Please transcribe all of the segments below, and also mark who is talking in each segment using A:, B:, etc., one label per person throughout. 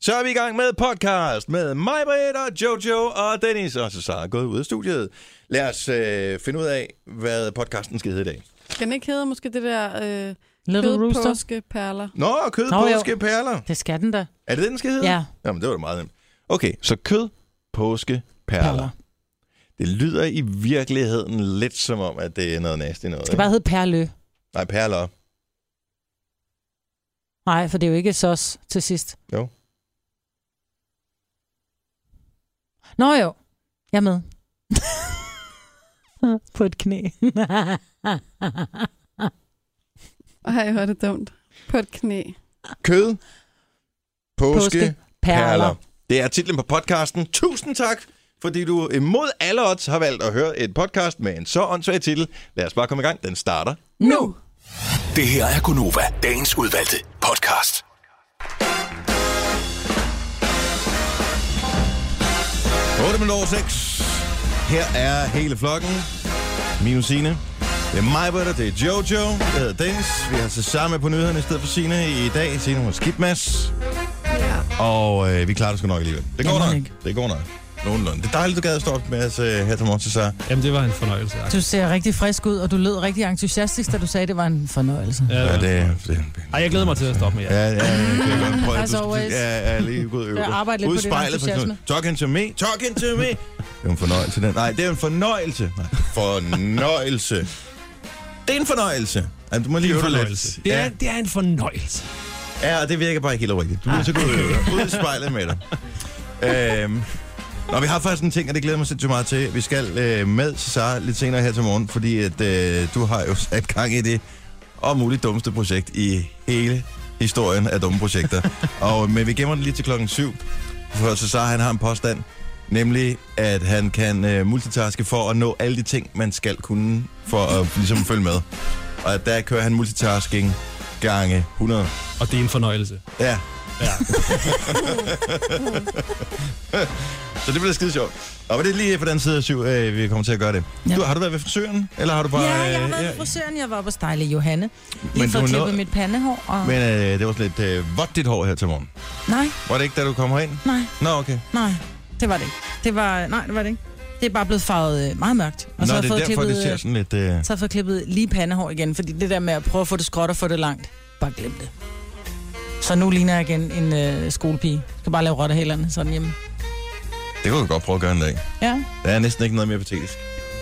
A: Så er vi i gang med podcast med mig, Britt og Jojo og Dennis. Og så Sara gået ud af studiet. Lad os øh, finde ud af, hvad podcasten skal hedde i dag.
B: Den ikke hedder måske det der øh,
C: Little Rooster.
B: kødpåskeperler.
A: Nå, kød,
C: Nå, jo.
A: påske, perler.
C: Det skal den da.
A: Er det det, den skal hedde?
C: Ja.
A: Jamen, det var da meget nemt. Okay, så kød, påske, perler. perler.
C: Perler.
A: Det lyder i virkeligheden lidt som om, at det er noget nasty noget.
C: Det skal bare hedde Perlø.
A: ikke? Nej, perler.
C: Nej, for det er jo ikke sos til sidst.
A: Jo.
C: Nå jo, jeg er med. På et knæ.
B: Ej, hvor er det dumt. På et knæ.
A: Kød, påske, påske perler.
C: perler.
A: Det er titlen på podcasten. Tusind tak, fordi du imod alle odds har valgt at høre et podcast med en så åndssvag titel. Lad os bare komme i gang. Den starter.
C: Nu!
D: Det her er Gunova, dagens udvalgte podcast.
A: Otte minutter 6. Her er hele flokken. Mino Signe. Det er mig, Britta, det er Jojo, jeg hedder Dennis. Vi har så sammen på nyhederne i stedet for Signe i dag. Signe hun skidt mas. Ja. Og øh, vi klarer det sgu nok alligevel. Det går
C: Jamen,
A: nok.
C: ikke.
A: Det går nok. Nogenlunde. Det er dejligt, du gad at stå op med os øh, her til morgen til sig.
E: Jamen, det var en fornøjelse.
C: Du ser rigtig frisk ud, og du lød rigtig entusiastisk, da du sagde, at det var en fornøjelse.
E: Ja,
A: Ja,
E: det var.
A: det, det,
E: Ej, jeg glæder mig til at stoppe med jer.
A: Ja, ja, ja. Prøv,
C: As
A: du,
C: always.
A: ja, ja, lige gå ud og øve
C: Jeg
A: dig.
C: arbejder lidt
A: Ud
C: på det,
A: spejlet, for
C: entusiasme.
A: eksempel. Talking to me, talking to me. Det er en fornøjelse, den. Nej, det er en fornøjelse. Nej, fornøjelse. Det er en fornøjelse. Ja, du må lige
E: Det er
A: øve
E: en
A: dig
E: fornøjelse.
A: lidt.
E: Det
A: Ja,
E: er, det er en fornøjelse.
A: ja, og det virker bare ikke helt rigtigt. Du er så god at øve dig. Ud i spejlet med dig. Øhm, Nå, vi har faktisk en ting, og det glæder jeg mig sindssygt meget til. Vi skal øh, med Cesar lidt senere her til morgen, fordi at, øh, du har jo sat gang i det og muligt dummeste projekt i hele historien af dumme projekter. og, men vi gemmer den lige til klokken 7, for Cesar han har en påstand, nemlig at han kan øh, multitaske for at nå alle de ting, man skal kunne for at ligesom følge med. Og at der kører han multitasking gange 100.
E: Og det er en fornøjelse.
A: Ja,
E: Ja.
A: så det bliver skide sjovt. Og var det lige for den side af syv, øh, vi kommer til at gøre det.
C: Ja.
A: Du, har du været ved frisøren? Eller har du bare...
C: Ja, jeg har
A: øh,
C: været ved frisøren. Jeg var på stejle Johanne.
A: Men
C: Lige for
A: du
C: at
A: nåede-
C: klippe mit pandehår. Og...
A: Men øh, det var sådan lidt øh, vådt dit hår her til morgen.
C: Nej,
A: Var det ikke, da du kom herind?
C: nej,
A: Nå, okay.
C: nej. Det var det ikke. Det var, nej, det var det ikke. Det er bare blevet farvet øh, meget mørkt. Og
A: Nå,
C: så har jeg
A: det er
C: fået
A: derfor,
C: klippet,
A: det ser
C: øh,
A: sådan lidt... Øh...
C: så har jeg fået klippet lige pandehår igen, fordi det der med at prøve at få det skråt og få det langt, bare glem det. Så nu ligner jeg igen en øh, skolepige. Jeg skal bare lave rottehælerne sådan hjemme.
A: Det kunne du godt prøve at gøre en dag.
C: Ja.
A: Der er næsten ikke noget mere patetisk.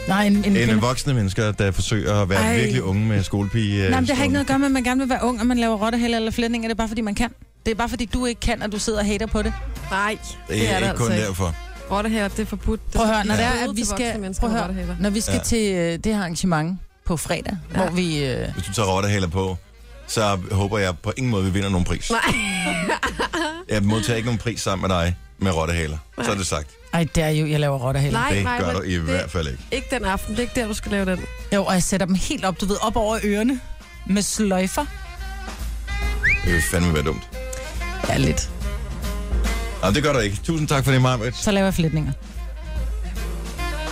C: Nej, en, en,
A: End
C: en
A: voksne mennesker, der forsøger at være Ej.
C: Ej.
A: virkelig unge med skolepige. øh,
C: Nej, men det har
A: stående.
C: ikke noget at gøre med, at man gerne vil være ung, og man laver rottehælder eller flætninger. Det er bare, fordi man kan. Det er bare, fordi du ikke kan, og du sidder og hater på det.
B: Nej,
A: Det er,
B: det
A: ikke kun
B: altså ikke.
A: derfor.
B: Rottehaler, det er forbudt. Det
C: Prøv at høre,
B: skal
C: når det
B: blive
C: er,
B: forbudt
C: at vi
B: til voksne
C: skal,
B: mennesker
C: prøv
B: med
C: at høre,
B: rottehaler.
C: når vi skal
A: Ja.
C: ja. til øh, det her arrangement på fredag, ja. hvor vi... Øh,
A: Hvis du tager rottehælder på, så håber jeg på ingen måde, vi vinder nogen pris.
B: Nej.
A: Jeg modtager ikke nogen pris sammen med dig med rottehæler. Så er det sagt.
C: ej, det er jo, jeg laver rottehælder.
B: Nej,
A: Det
B: nej,
A: gør
B: men
A: du i
B: det-
A: hvert fald ikke.
B: Ikke den aften, det er ikke der, du skal lave den.
C: Jo, og jeg sætter dem helt op, du ved, op over ørerne med sløjfer.
A: Det vil fandme være dumt.
C: Ja, lidt.
A: Nå, det gør du ikke. Tusind tak for det, Marmit.
C: Så laver jeg flætninger.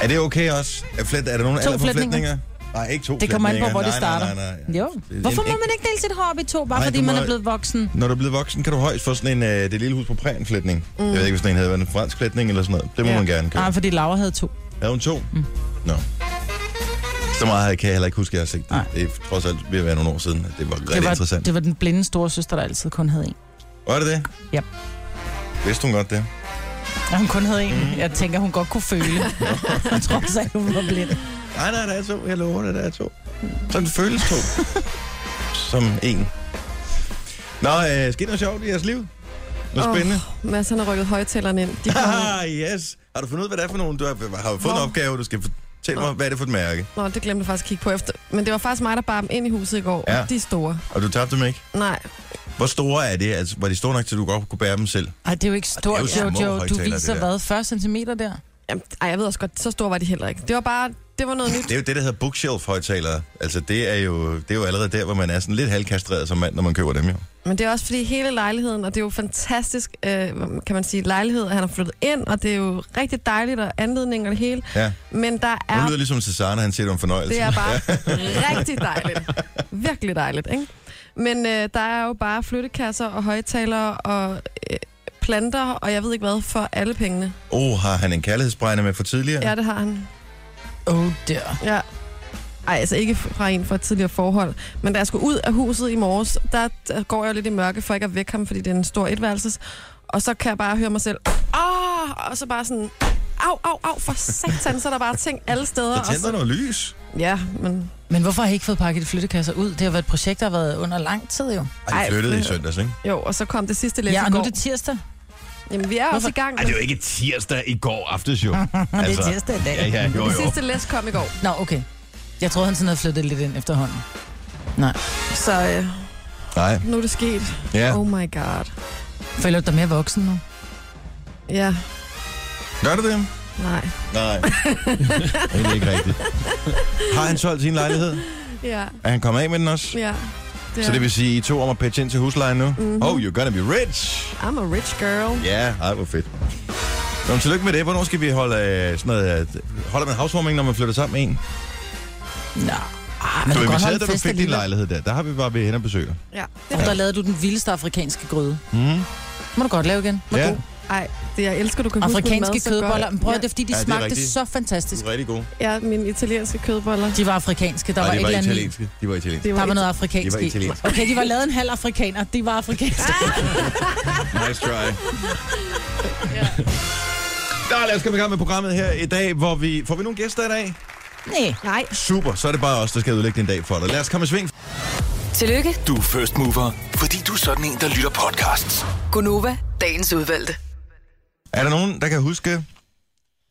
A: Er det okay også? Er, flet, er der nogen
C: To
A: alder for
C: flætninger.
A: flætninger? Nej, ikke to
C: Det kommer an på, hvor
A: flætninger.
C: det starter.
A: Nej, nej, nej, nej.
C: Jo.
A: Det er
C: Hvorfor
A: en-
C: må man ikke dele sit hår op i to, bare
A: Nej,
C: nej, fordi
A: du
C: man
A: må-
C: er blevet voksen?
A: Når du er blevet voksen, kan du højst få sådan en, øh, det lille hus på præn flætning. Mm. Jeg ved ikke, hvis den havde været en fransk flætning eller sådan noget. Det må ja.
B: Ja.
A: man gerne købe.
C: Nej, fordi Laura havde to.
A: Er hun to? Mm. Nå. Så meget kan jeg heller ikke huske, at jeg har set det.
C: Nej.
A: Det er trods alt ved at være nogle år siden. at Det var rigtig
C: Det var,
A: interessant.
C: det var den blinde store søster, der altid kun havde en.
A: Var det det?
C: Ja.
A: Vidste hun godt det?
C: Ja, hun kun havde en. Mm-hmm. Jeg tænker, hun godt kunne føle. jeg tror også, at hun var blind.
A: Nej, nej, der er to. Jeg lover det, der er to. Sådan føles to. Som en. Nå, øh, skete noget sjovt i jeres liv? Noget
B: Åh.
A: spændende?
B: Mads, han har rykket højtalerne ind. De kommer...
A: Haha, yes. Har du fundet ud af, hvad det er for nogen? Du har, har fået Hvor? en
B: Hvor?
A: opgave, du skal fortælle mig, hvad er det for et mærke?
B: Nå, det glemte jeg faktisk at kigge på efter. Men det var faktisk mig, der bar dem ind i huset i går.
A: Ja.
B: Ja. De er store.
A: Og du tabte dem ikke?
B: Nej,
A: Hvor store er det? Altså, var de store nok til, at du godt kunne bære dem selv?
C: Ej, det er jo ikke stort,
A: Det er jo
C: jo,
A: små
C: jo, Du
A: højtalere, det
C: viser
A: der.
C: hvad? 40 cm der?
B: Jamen, ej, jeg ved også godt, så store var de heller ikke. Det var bare, det var noget nyt.
A: Det er jo det, der hedder bookshelf-højtalere. Altså, det er, jo, det er jo allerede der, hvor man er sådan lidt halvkastreret som mand, når man køber dem jo.
B: Men det er også fordi hele lejligheden, og det er jo fantastisk, øh, kan man sige, lejlighed, at han har flyttet ind, og det er jo rigtig dejligt, og anledning og det hele.
A: Ja.
B: Men der
A: Nu
B: er,
A: lyder det ligesom Cesar, når han siger, det altså. var en fornøjelse.
B: det er bare rigtig dejligt. Virkelig dejligt, ikke? Men øh, der er jo bare flyttekasser og højtalere og øh, planter, og jeg ved ikke hvad, for alle pengene.
A: Oh, har han en kærlighedsbrænder med for tidligere?
B: Ja, ja det har han.
C: Oh, der.
B: Ja. Ej, altså ikke fra en fra et tidligere forhold. Men da jeg skulle ud af huset i morges, der, der går jeg jo lidt i mørke, for ikke at vække ham, fordi det er en stor etværelses. Og så kan jeg bare høre mig selv, Åh! og så bare sådan, au, au, au, for satan, så er der bare ting alle steder.
A: Der
B: og
A: tænder
B: så,
A: noget lys.
B: ja, men
C: Men hvorfor har I ikke fået pakket de flyttekasser ud? Det har været et projekt, der har været under lang tid jo.
A: Ej,
B: Ej,
A: de flyttede i
B: det-
A: søndags, ikke?
B: jo, og så kom det sidste læs
C: Ja,
B: i
C: og nu
B: går.
C: er det tirsdag.
B: Jamen, vi er også i gang,
F: Ej,
B: men
F: det er jo ikke tirsdag i går aftes, jo.
C: Og det
F: Altså,
C: er tirsdag i dag.
F: Ja, ja, jo,
B: det
F: jo.
B: sidste læs kom i går.
C: Nå, okay. Jeg troede, han sådan havde flyttet lidt ind efterhånden.
B: Så øh,
A: Nej,
B: nu er det sket.
A: ja.
B: Ja. Oh my god.
C: Føler du dig mere voksen nu?
B: Ja,
A: Gør du det?
B: nej.
A: Nej. det er ikke rigtigt. Har han solgt sin lejlighed?
B: Ja,
A: Er han kommet af med den også?
B: ja. Mhm.
A: Så det vil sige, I to om at pitche ind til huslejen nu? Mm-hmm. Oh, you're gonna be rich!
B: I'm a rich girl.
A: Ja, yeah. ej, hvor fedt. Nå, men tillykke med det. Hvornår skal vi holde øh, sådan noget... øh, Holder man housewarming, når man flytter sammen med en?
C: Nå. Ah, men
A: Du
C: kan godt
A: inviterede,
C: holde en
A: da du fik
C: fest
A: din
C: alligevel.
A: lejlighed der. Der har vi bare været hen og besøge. Hmm?
B: Ja, det
C: Og
B: er
C: der lavede du den vildeste afrikanske gryde.
A: Mm.
C: Må du godt lave igen. Var
A: Ja,
C: god.
B: Ej, det jeg elsker, du kan huske
C: Afrikanske
B: min mad så
C: kødboller. Men
B: godt.
C: prøv, ja. det er fordi, de
A: Ja, det er
C: smagte
A: rigtigt.
C: så
A: du
C: fantastisk.
A: er rigtig god.
B: Ja, mine italienske kødboller.
C: De var afrikanske. Der
A: Nej,
C: var,
A: de
C: ikke
A: var
C: andet. i.
A: italienske. De var italienske.
B: Det
C: Der var
B: ikke-
C: noget afrikansk
A: De var
C: i.
A: italienske.
C: Okay, de var lavet en halv afrikaner. De var afrikanske.
A: Nice try. Nå, lad os komme i gang med programmet her i dag, hvor vi... Får vi nogle gæster i dag?
C: Nej.
B: Nej,
A: Super, så er det bare os, der skal udlægge din dag for dig. Lad os komme i sving.
G: Tillykke,
D: Du er first mover, fordi du er sådan en, der lytter podcasts.
G: Gunova, dagens udvalgte.
A: Er der nogen, der kan huske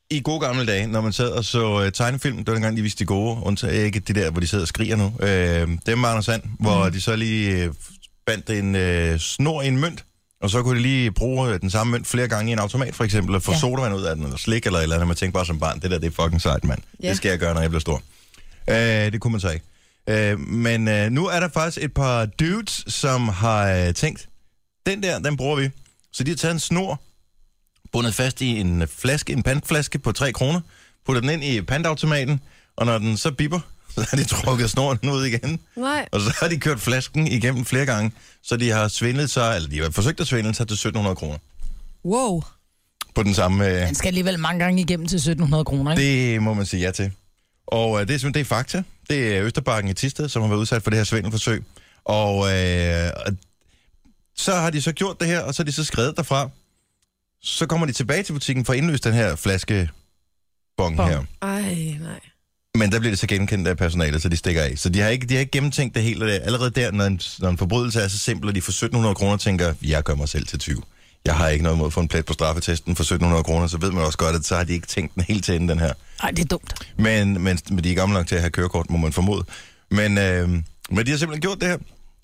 A: i gode gamle dage, når man sad og så øh, tegnefilm, det var dengang, de viste de gode, undtagen ikke de der, hvor de sidder og skriger nu. Øh, dem var Anders Sand, hvor mm. de så lige øh, bandt en øh, snor i en mønt, og så kunne de lige bruge øh, den samme mønt flere gange i en automat, for eksempel, og få ja.
C: Ja.
A: sodavand ud af den, eller slik, eller et eller andet. Man tænkte bare som barn, det der, det er fucking sejt, mand.
B: Ja.
A: Det skal jeg gøre, når jeg bliver stor. Øh, det kunne man så ikke. Øh, men øh, nu er der faktisk et par dudes, som har øh, tænkt, den der, den bruger vi. Så de har taget en snor, bundet fast i en flaske, en pantflaske på 3 kroner, putter den ind i pantautomaten, og når den så bipper, så har de trukket snoren ud igen,
B: nej.
A: og så har de kørt flasken igennem flere gange, så de har svindlet sig, eller de har forsøgt at svindle sig til 1700 kroner
C: Wow.
A: på den samme... Øh,
C: Han skal alligevel mange gange igennem til 1700 kroner, ikke?
A: det må man sige ja til. Og øh, det er simpelthen det er fakta. Det er Østerbakken i Tisted, som har været udsat for det her svindelforsøg. Og øh, og så har de så gjort det her, og så er de så skrevet derfra. Så kommer de tilbage til butikken for at indløse den her flaske bong
C: Bong.
A: her.
B: Ej, nej.
A: Men der bliver det så genkendt af personalet, så de stikker af. Så de har ikke, de har ikke gennemtænkt det helt. og det er Allerede der, når en, når en forbrydelse er så simpel, og de for 1700 kroner tænker, jeg gør mig selv til 20. Jeg har ikke noget mod at få en plet på straffetesten for 1700 kroner, så ved man også godt, at så har de ikke tænkt den helt til enden, den her.
C: Nej, det er dumt.
A: Men, men men de er gamle nok til at have kørekort, må man formode. Men, øh, men de har simpelthen gjort det her.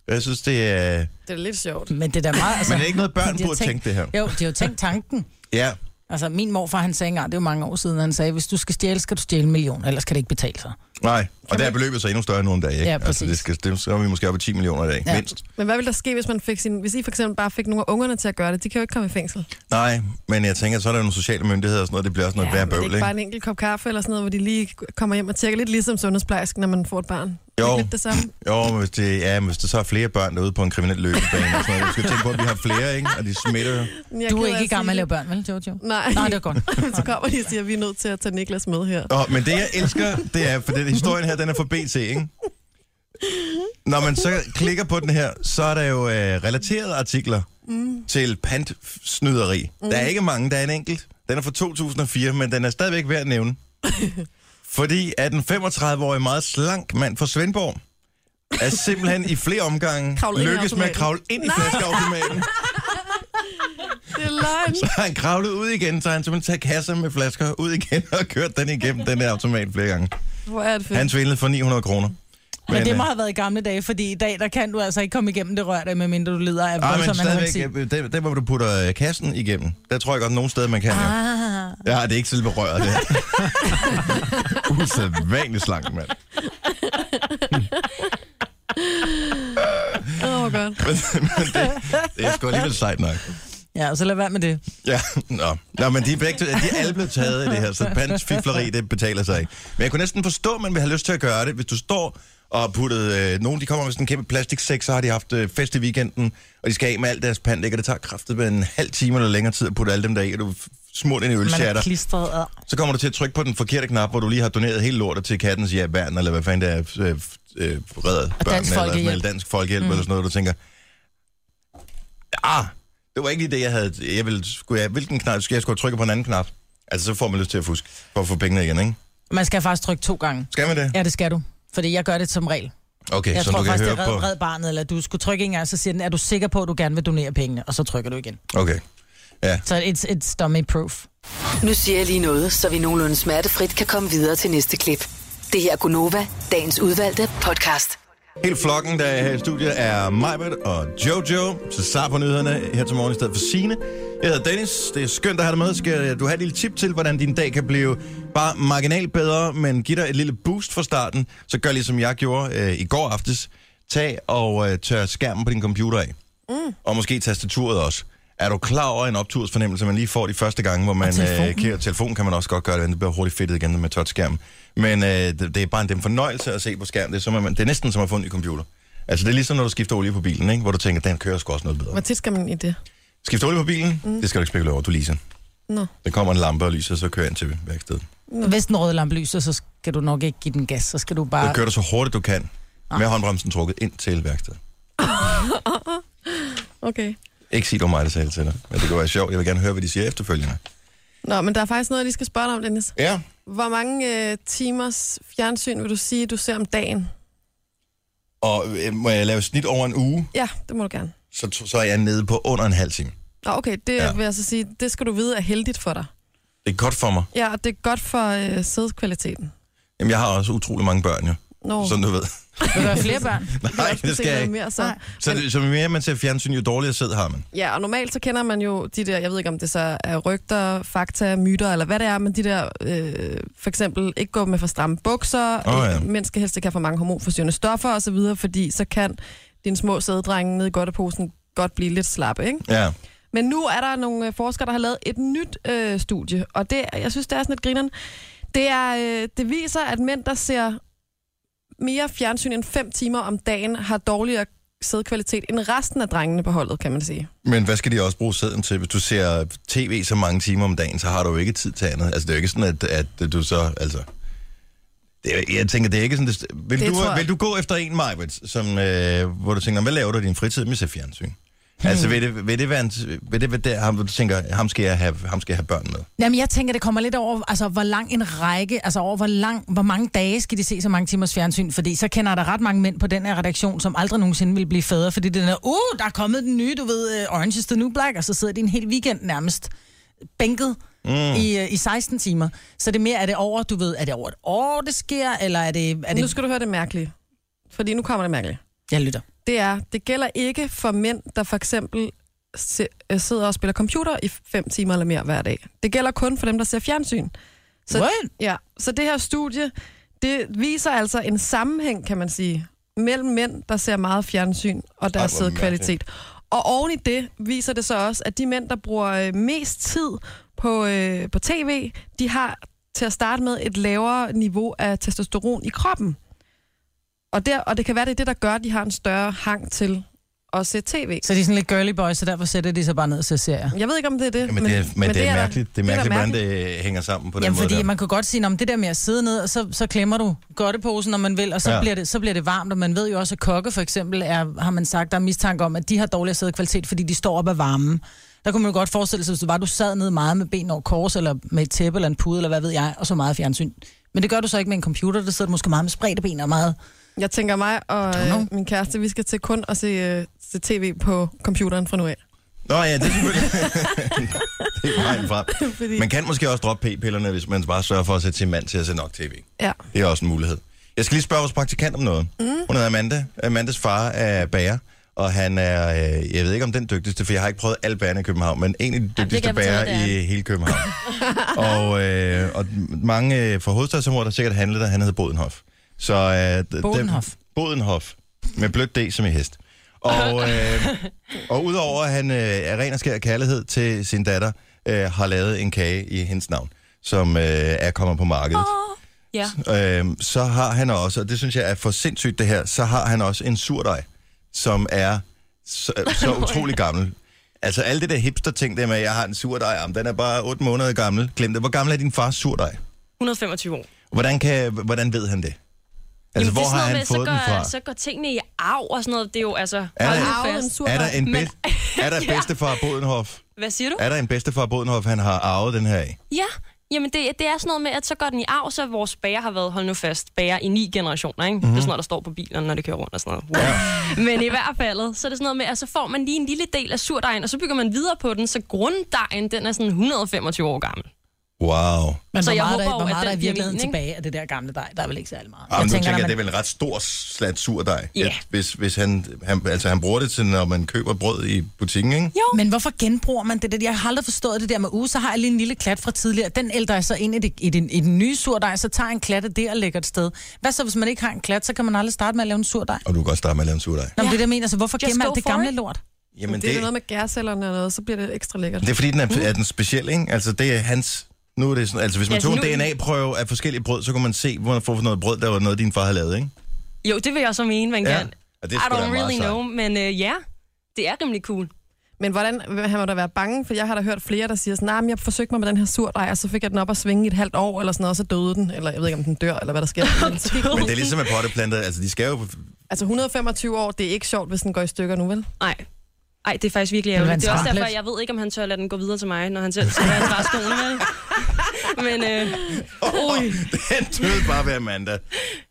A: Jeg synes, det er...
B: Det er lidt sjovt.
C: Men det er da meget... Altså,
A: Men det er ikke noget, børn
C: de har
A: burde tænke det her.
C: Jo, de har jo tænkt tanken.
A: Ja,
C: Altså, min morfar, han sagde engang, det er jo mange år siden, han sagde, hvis du skal stjæle, skal du stjæle en million, ellers kan det ikke betale sig.
A: nej. Og der er beløbet så endnu større end nogen dag, ikke?
C: Ja,
A: altså, det
C: præcis.
A: skal, det, så er vi måske oppe i 10 millioner i dag, ja.
C: Ja.
A: mindst.
B: Men hvad ville der ske, hvis, man fik sin, hvis I for eksempel bare fik nogle af ungerne til at gøre det? De kan jo ikke komme i fængsel.
A: Nej, men jeg tænker, så er der nogle sociale myndigheder og sådan noget, det bliver også noget ja, værre
B: det er
A: bøvl,
B: ikke
A: ikke?
B: bare en enkelt kop kaffe eller sådan noget, hvor de lige kommer hjem og tjekker lidt ligesom sundhedsplejersken, når man får et barn. Er
A: Jo.
B: Det er lidt det samme.
A: Jo, men hvis, det, ja, men hvis der så er flere børn derude på en kriminel løbebane, og sådan noget, du skal tænke på, at vi har flere, ikke? Og de smitter jo.
B: Men jeg
C: Du er
B: ked af
C: ikke i gang med at lave
B: sige
C: børn, vel, Jojo?
B: det. Nej,
C: Nej, det er godt.
B: så kommer de og siger, at vi er nødt til at tage Niklas med her.
A: Nå, men det, jeg elsker, det er, for den historien her, den er fra BT, ikke? Når man så klikker på den her, så er der jo øh, relaterede artikler mm. til pantsnyderi. Mm. Der er ikke mange, der er en enkelt. Den er fra 2004, men den er stadigvæk værd at nævne. Fordi at en 35-årig meget slank mand fra Svendborg er simpelthen i flere omgange
B: Kravlet ind i
A: lykkes med at
B: automaten.
A: kravle ind i flaskeautomaten.
B: Det er løgn.
A: Så har han kravlet ud igen, så har han simpelthen taget kasser med flasker ud igen og kørt den igennem den der automat flere gange.
B: Hvor er det fedt.
A: Han svindlede for 900 kroner.
C: Men det må
A: øh,
C: have været i gamle dage, fordi i dag, der kan du altså ikke komme igennem det rør dig, medmindre du lider af
A: ej, men
C: voldsom
A: stadigvæk,
C: anoreksi.
A: øh, det, det, hvor du putter øh, kassen igennem, der tror jeg godt, nogen steder man kan. Ah.
C: Ah,
A: Ja, det er ikke selve røret, det her. Usædvanligt slank, mand.
B: Åh, hvor godt.
A: Men, men det, det er sgu alligevel sejt nok.
C: ja, så lad være med det.
A: Ja, nå. nå men de er, begge, de er alle blevet taget i det her, så pantsfifleri, det betaler sig ikke. Men jeg kunne næsten forstå, at man vil have lyst til at gøre det, hvis du står og puttet... Øh, nogen, de kommer med sådan en kæmpe plastiksæk, så har de haft øh, fest i weekenden, og de skal af med alt deres pant, ikke? og det tager kraftigt med en halv time eller længere tid at putte alle dem der i, og du er f- smurt ind i
C: Man er
A: ølshatter.
C: klistret ad.
A: Så kommer du til at trykke på den forkerte knap, hvor du lige har doneret hele lortet til kattens hjælpværn, eller hvad fanden det er, øh, f- øh, redder børnene, eller, sådan,
C: Folkehjælp.
A: noget, eller dansk folkehjælp, mm. eller sådan noget, du tænker, ah, det var ikke lige det, jeg havde, jeg ville, skulle jeg, hvilken knap, skulle jeg skulle have trykket på en anden knap? Altså, så får man lyst til at fuske, for at få pengene igen, ikke?
C: Man skal faktisk trykke to gange.
A: Skal man det?
C: Ja, det skal du. Fordi jeg gør det som regel.
A: Okay,
C: Jeg
A: så
C: tror
A: du kan
C: faktisk,
A: høre
C: det er red,
A: på...
C: red barnet, eller du skulle trykke en gang, så siger den, er du sikker på, at du gerne vil donere pengene? Og så trykker du igen.
A: Okay.
C: Så it's, it's dummy proof.
G: Nu siger jeg lige noget, så vi nogenlunde smertefrit kan komme videre til næste klip. Det her er Gunova, dagens udvalgte podcast.
A: Hele flokken, der er her i studiet, er Majbert og Jojo. Så start på nyhederne her til morgen i stedet for Sine. Jeg hedder Dennis. Det er skønt at have dig med. Skal du have et lille tip til, hvordan din dag kan blive bare marginalt bedre, men giv dig et lille boost fra starten, så gør ligesom jeg gjorde øh, i går aftes. Tag og øh, tør skærmen på din computer af. Mm. Og måske tastaturet også. Er du klar over en optursfornemmelse, man lige får de første gange, hvor man
C: telefonen.
A: øh, kigger telefonen kan man også godt gøre det, men det bliver hurtigt fedtet igen med touchskærm. Men øh, det, det, er bare en, det er en fornøjelse at se på skærmen. Det er, som, at man, det er næsten som at få en ny computer. Altså det er ligesom, når du skifter olie på bilen, ikke? hvor du tænker, den kører sgu også noget
B: Hvor
A: bedre.
B: tit skal man i det?
A: Skifter olie på bilen? Mm. Det skal du ikke spekulere over, du leaser.
B: Nå.
A: Der kommer en lampe og lyser, så kører jeg ind til værkstedet.
C: Hvis den røde lampe lyser, så skal du nok ikke give den gas. Så skal du
A: Så
C: bare...
A: kører du så hurtigt du kan, med håndbremsen trukket ind til værkstedet.
B: Okay.
A: Ikke sig, du mig, der sagde det til dig. Men det kunne være sjovt. Jeg vil gerne høre, hvad de siger efterfølgende.
B: Nå, men der er faktisk noget, jeg lige skal spørge dig om, Dennis.
A: Ja,
B: Hvor mange øh, timers fjernsyn vil du sige, du ser om dagen?
A: og øh, må jeg lave snit over en uge,
B: Ja, det må du gerne.
A: så, så er jeg nede på under en halv time.
B: Nå, okay, det
A: Ja.
B: ja. vil jeg så sige, det skal du vide er heldigt for dig.
A: Det er godt for mig.
B: Ja, og det er godt for øh, sædkvaliteten.
A: Jamen, jeg har også utrolig mange børn, jo.
B: Nå,
A: Sådan du ved.
C: Vil du have flere børn?
A: Nej, det skal jeg ikke.
B: Mere, så.
C: Nej.
A: Så, det- så jo mere man ser fjernsyn, jo dårligere sæd har man.
B: Ja, og normalt så kender man jo de der, jeg ved ikke om det så er rygter, fakta, myter eller hvad det er, men de der, øh, for eksempel ikke gå med for stramme bukser,
A: Åh, ja.
B: øh, mænd skal helst ikke have for mange hormonforstyrrende stoffer osv., fordi så kan dine små sæddrenge nede i godteposen godt blive lidt slappe, ikke?
A: Ja.
B: Men nu er der nogle øh, forskere, der har lavet et nyt øh, studie, og det, jeg synes, det er sådan lidt grineren. Det, er, øh, det viser, at mænd, der ser mere fjernsyn end 5 timer om dagen, har dårligere sædkvalitet end resten af drengene på holdet, kan man sige.
A: Men hvad skal de også bruge sæden til? Hvis du ser tv så mange timer om dagen, så har du jo ikke tid til andet. Altså, det er jo ikke sådan, at, at du så... Altså, det er, jeg tænker, det er ikke sådan... Det, vil,
B: Det
A: det du,
B: tror jeg.
A: vil du gå efter en, Majbrit, som, øh, hvor du tænker, hvad laver du i din fritid med ser fjernsyn?
C: Hmm.
A: Altså, vil det, vil det være en, vil det være der, ham, hvor du tænker, ham skal, jeg have, ham skal jeg have børn med?
C: Jamen, jeg tænker, det kommer lidt over, altså, hvor lang en række, altså over, hvor, lang, hvor mange dage skal de se så mange timers fjernsyn, fordi så kender der ret mange mænd på den her redaktion, som aldrig nogensinde vil blive fædre, fordi det er, den her, uh, der er kommet den nye, du ved, øh, Orange is the New Black, og så sidder de en hel weekend nærmest bænket mm.
A: Hmm.
C: i, øh, i 16 timer. Så det er mere, er det over, du ved, er det over et år, det sker, eller er det... Er
B: Det... Nu
C: det
B: skal du høre det mærkelige, fordi nu kommer det mærkelige.
C: jeg lytter.
B: Det er, det gælder ikke for mænd, der for eksempel se- øh, sidder og spiller computer i 5 timer eller mere hver dag. Det gælder kun for dem, der ser fjernsyn. Så-
C: Så... What?
B: Ja, så det her studie, det viser altså en sammenhæng, kan man sige, mellem mænd, der ser meget fjernsyn og deres
A: Ej, hvor
B: sædkvalitet. Og oven i det viser det så også, at de mænd, der bruger øh, mest tid på, øh, på tv, de har til at starte med et lavere niveau af testosteron i kroppen. Og, der, og det kan være, det er det, der gør, at de har en større hang til at se tv.
C: Så de er sådan lidt girly boys, så derfor sætter de sig bare ned og ser serier.
B: Jeg ved ikke, om det er det.
A: Jamen, men, det, er- men, men det, er
B: der-
A: mærkeligt, det er
B: da
A: mærkeligt, hvordan det hænger sammen på den
C: Jamen,
A: måde.
C: fordi
A: der.
C: man kunne godt sige, om det der med at sidde ned, og så, så klemmer du godteposen, når man vil, og så,
A: Ja.
C: ja. bliver det, så bliver det varmt, og man ved jo også, at kokke for eksempel, er, har man sagt, der er mistanke om, at de har dårligere sædekvalitet, fordi de står op af varmen. Der kunne man jo godt forestille sig, hvis du var, du sad ned meget med ben over kors, eller med et tæppe, eller en pude, eller hvad ved jeg, og så meget fjernsyn. Men det gør du så ikke med en computer, der sidder du måske meget med spredte ben og meget.
B: Jeg tænker mig og
C: Don't know.
B: øh, min kæreste, vi skal til kun at se, øh, se tv på computeren fra nu af.
A: Nå ja, det er selvfølgelig... det er vejen frem.
B: Fordi,
A: Man kan måske også droppe p-pillerne, hvis man bare sørger for at sætte sin mand til at se nok tv.
B: ja.
A: Det er også en mulighed. Jeg skal lige spørge vores praktikant om noget. Mm. Hun hedder Amanda. Amandas far er bager, og han er, øh, jeg ved ikke om den dygtigste, for jeg har ikke prøvet alle bagerne i København, men en af de dygtigste
H: jeg fortælle,
A: bager
H: det er
A: i hele København. og, øh, og mange øh, fra hovedstadsområdet har sikkert handlet, og han hedder Bodenhof. Så, øh, d- dem-
C: Bodenhof.
A: Bodenhof. Med blødt D som i hest. Og, øh, og udover at han øh, er ren og skær kærlighed til sin datter, øh, har lavet en kage i hendes navn, som øh, er kommet på markedet.
H: Ja.
A: øhm, så har han også, og det synes jeg er for sindssygt det her, så har han også en surdej, som er så, så utrolig gammel. Altså alle det der hipster-ting der med, at jeg har en surdej, jamen, den er bare 8 måneder gammel. Glem det. Hvor gammel er din fars surdej?
H: 125 år.
A: Hvordan, kan, hvordan ved han det? Altså, Jamen, hvor
H: det er sådan
A: har
H: noget
A: han
H: med,
A: fået
H: så
A: den
H: går,
A: fra?
H: Så går tingene i arv og sådan noget. Det er jo altså...
A: Er
H: hold
A: der-
H: nu
B: Arvet en
H: fast.
B: sur
A: Er der en,
H: Men-
A: bed, er der
H: Ja.
A: bedstefar Bodenhoff?
H: Hvad siger du?
A: Er der en bedstefar Bodenhoff, han har arvet den her af?
H: Ja, jamen det, det er sådan noget med, at så går den i arv, så vores bager har været, hold nu fast, bager i ni generationer, ikke?
A: Mhm.
H: Mm-hmm. Det er sådan noget, der står på bilerne, når det kører rundt og sådan noget. Wow. Men i hvert fald, så er det sådan noget med, at så får man lige en lille del af surdejen, og så bygger man videre på den, så grunddejen, den er sådan 125 år gammel.
A: Wow.
C: Men
H: Så
C: hvor
H: jeg
C: meget,
H: håber
C: der,
H: jo,
C: hvor
H: at
C: meget der er
H: den
C: i
H: bliver
C: virkeligheden
H: min, ikke?
C: tilbage af det der gamle dej, der er vel ikke særlig meget.
A: Jamen, nu tænker jeg,
C: når
A: det er
C: man-
A: vel en ret stor slat surdej,
H: Ja.
A: yeah. hvis, hvis han, han, altså, han bruger det til, når man køber brød i butikken, ikke?
C: Men hvorfor genbruger man det? der? Jeg har aldrig forstået det der med uge, så har jeg lige en lille klat fra tidligere. Den ældre jeg så ind i, det, i, den, i den nye surdej, så tager jeg en klat af det og lægger et sted. Hvad så, hvis man ikke har en klat, så kan man aldrig starte med at lave en surdej?
A: Og du kan godt starte med at lave en surdej.
C: Nå, men det der mener, så hvorfor
H: Just
C: gemme
H: go
C: alt det
H: for
C: gamle
H: it.
C: lort?
A: Jamen,
B: Det er noget
A: det,
B: med gærcellerne eller noget, så bliver det ekstra lækkert.
A: det er fordi, den er, er den speciel, ikke? Altså, det er hans... Nu er det sådan, altså, hvis man
H: Ja,
A: tog en
H: nu-
A: DNA-prøve af forskellige brød, så kunne man se, hvor man får for noget brød, der var noget, din far havde lavet, ikke?
H: Jo, det vil jeg så mene, man
A: Ja.
H: kan.
A: Og det
H: I
A: er sgu da
H: don't
A: meget
H: really
A: sejt.
H: know, men øh, ja, det er rimelig cool.
B: Men hvordan, han må da være bange, for jeg har da hørt flere, der siger sådan, nej, men jeg forsøgte mig med den her surdej, og så fik jeg den op at svinge i et halvt år, eller sådan noget, og så døde den, eller jeg ved ikke, om den dør, eller hvad der sker. Men så gik den.
A: Men det er ligesom med potteplanter, altså, de skal jo
B: Altså 125 år, det er ikke sjovt, hvis den går i stykker nu, vel?
H: Nej. Ej, det er faktisk virkelig
C: Det ville
H: ærgerligt. Det er
C: være en
H: også derfor,
C: travlt.
H: jeg ved ikke, om han tør at lade den gå videre til mig, når han selv skal være træskolen. vel? Men øh,
A: Åh, den døde bare ved Amanda.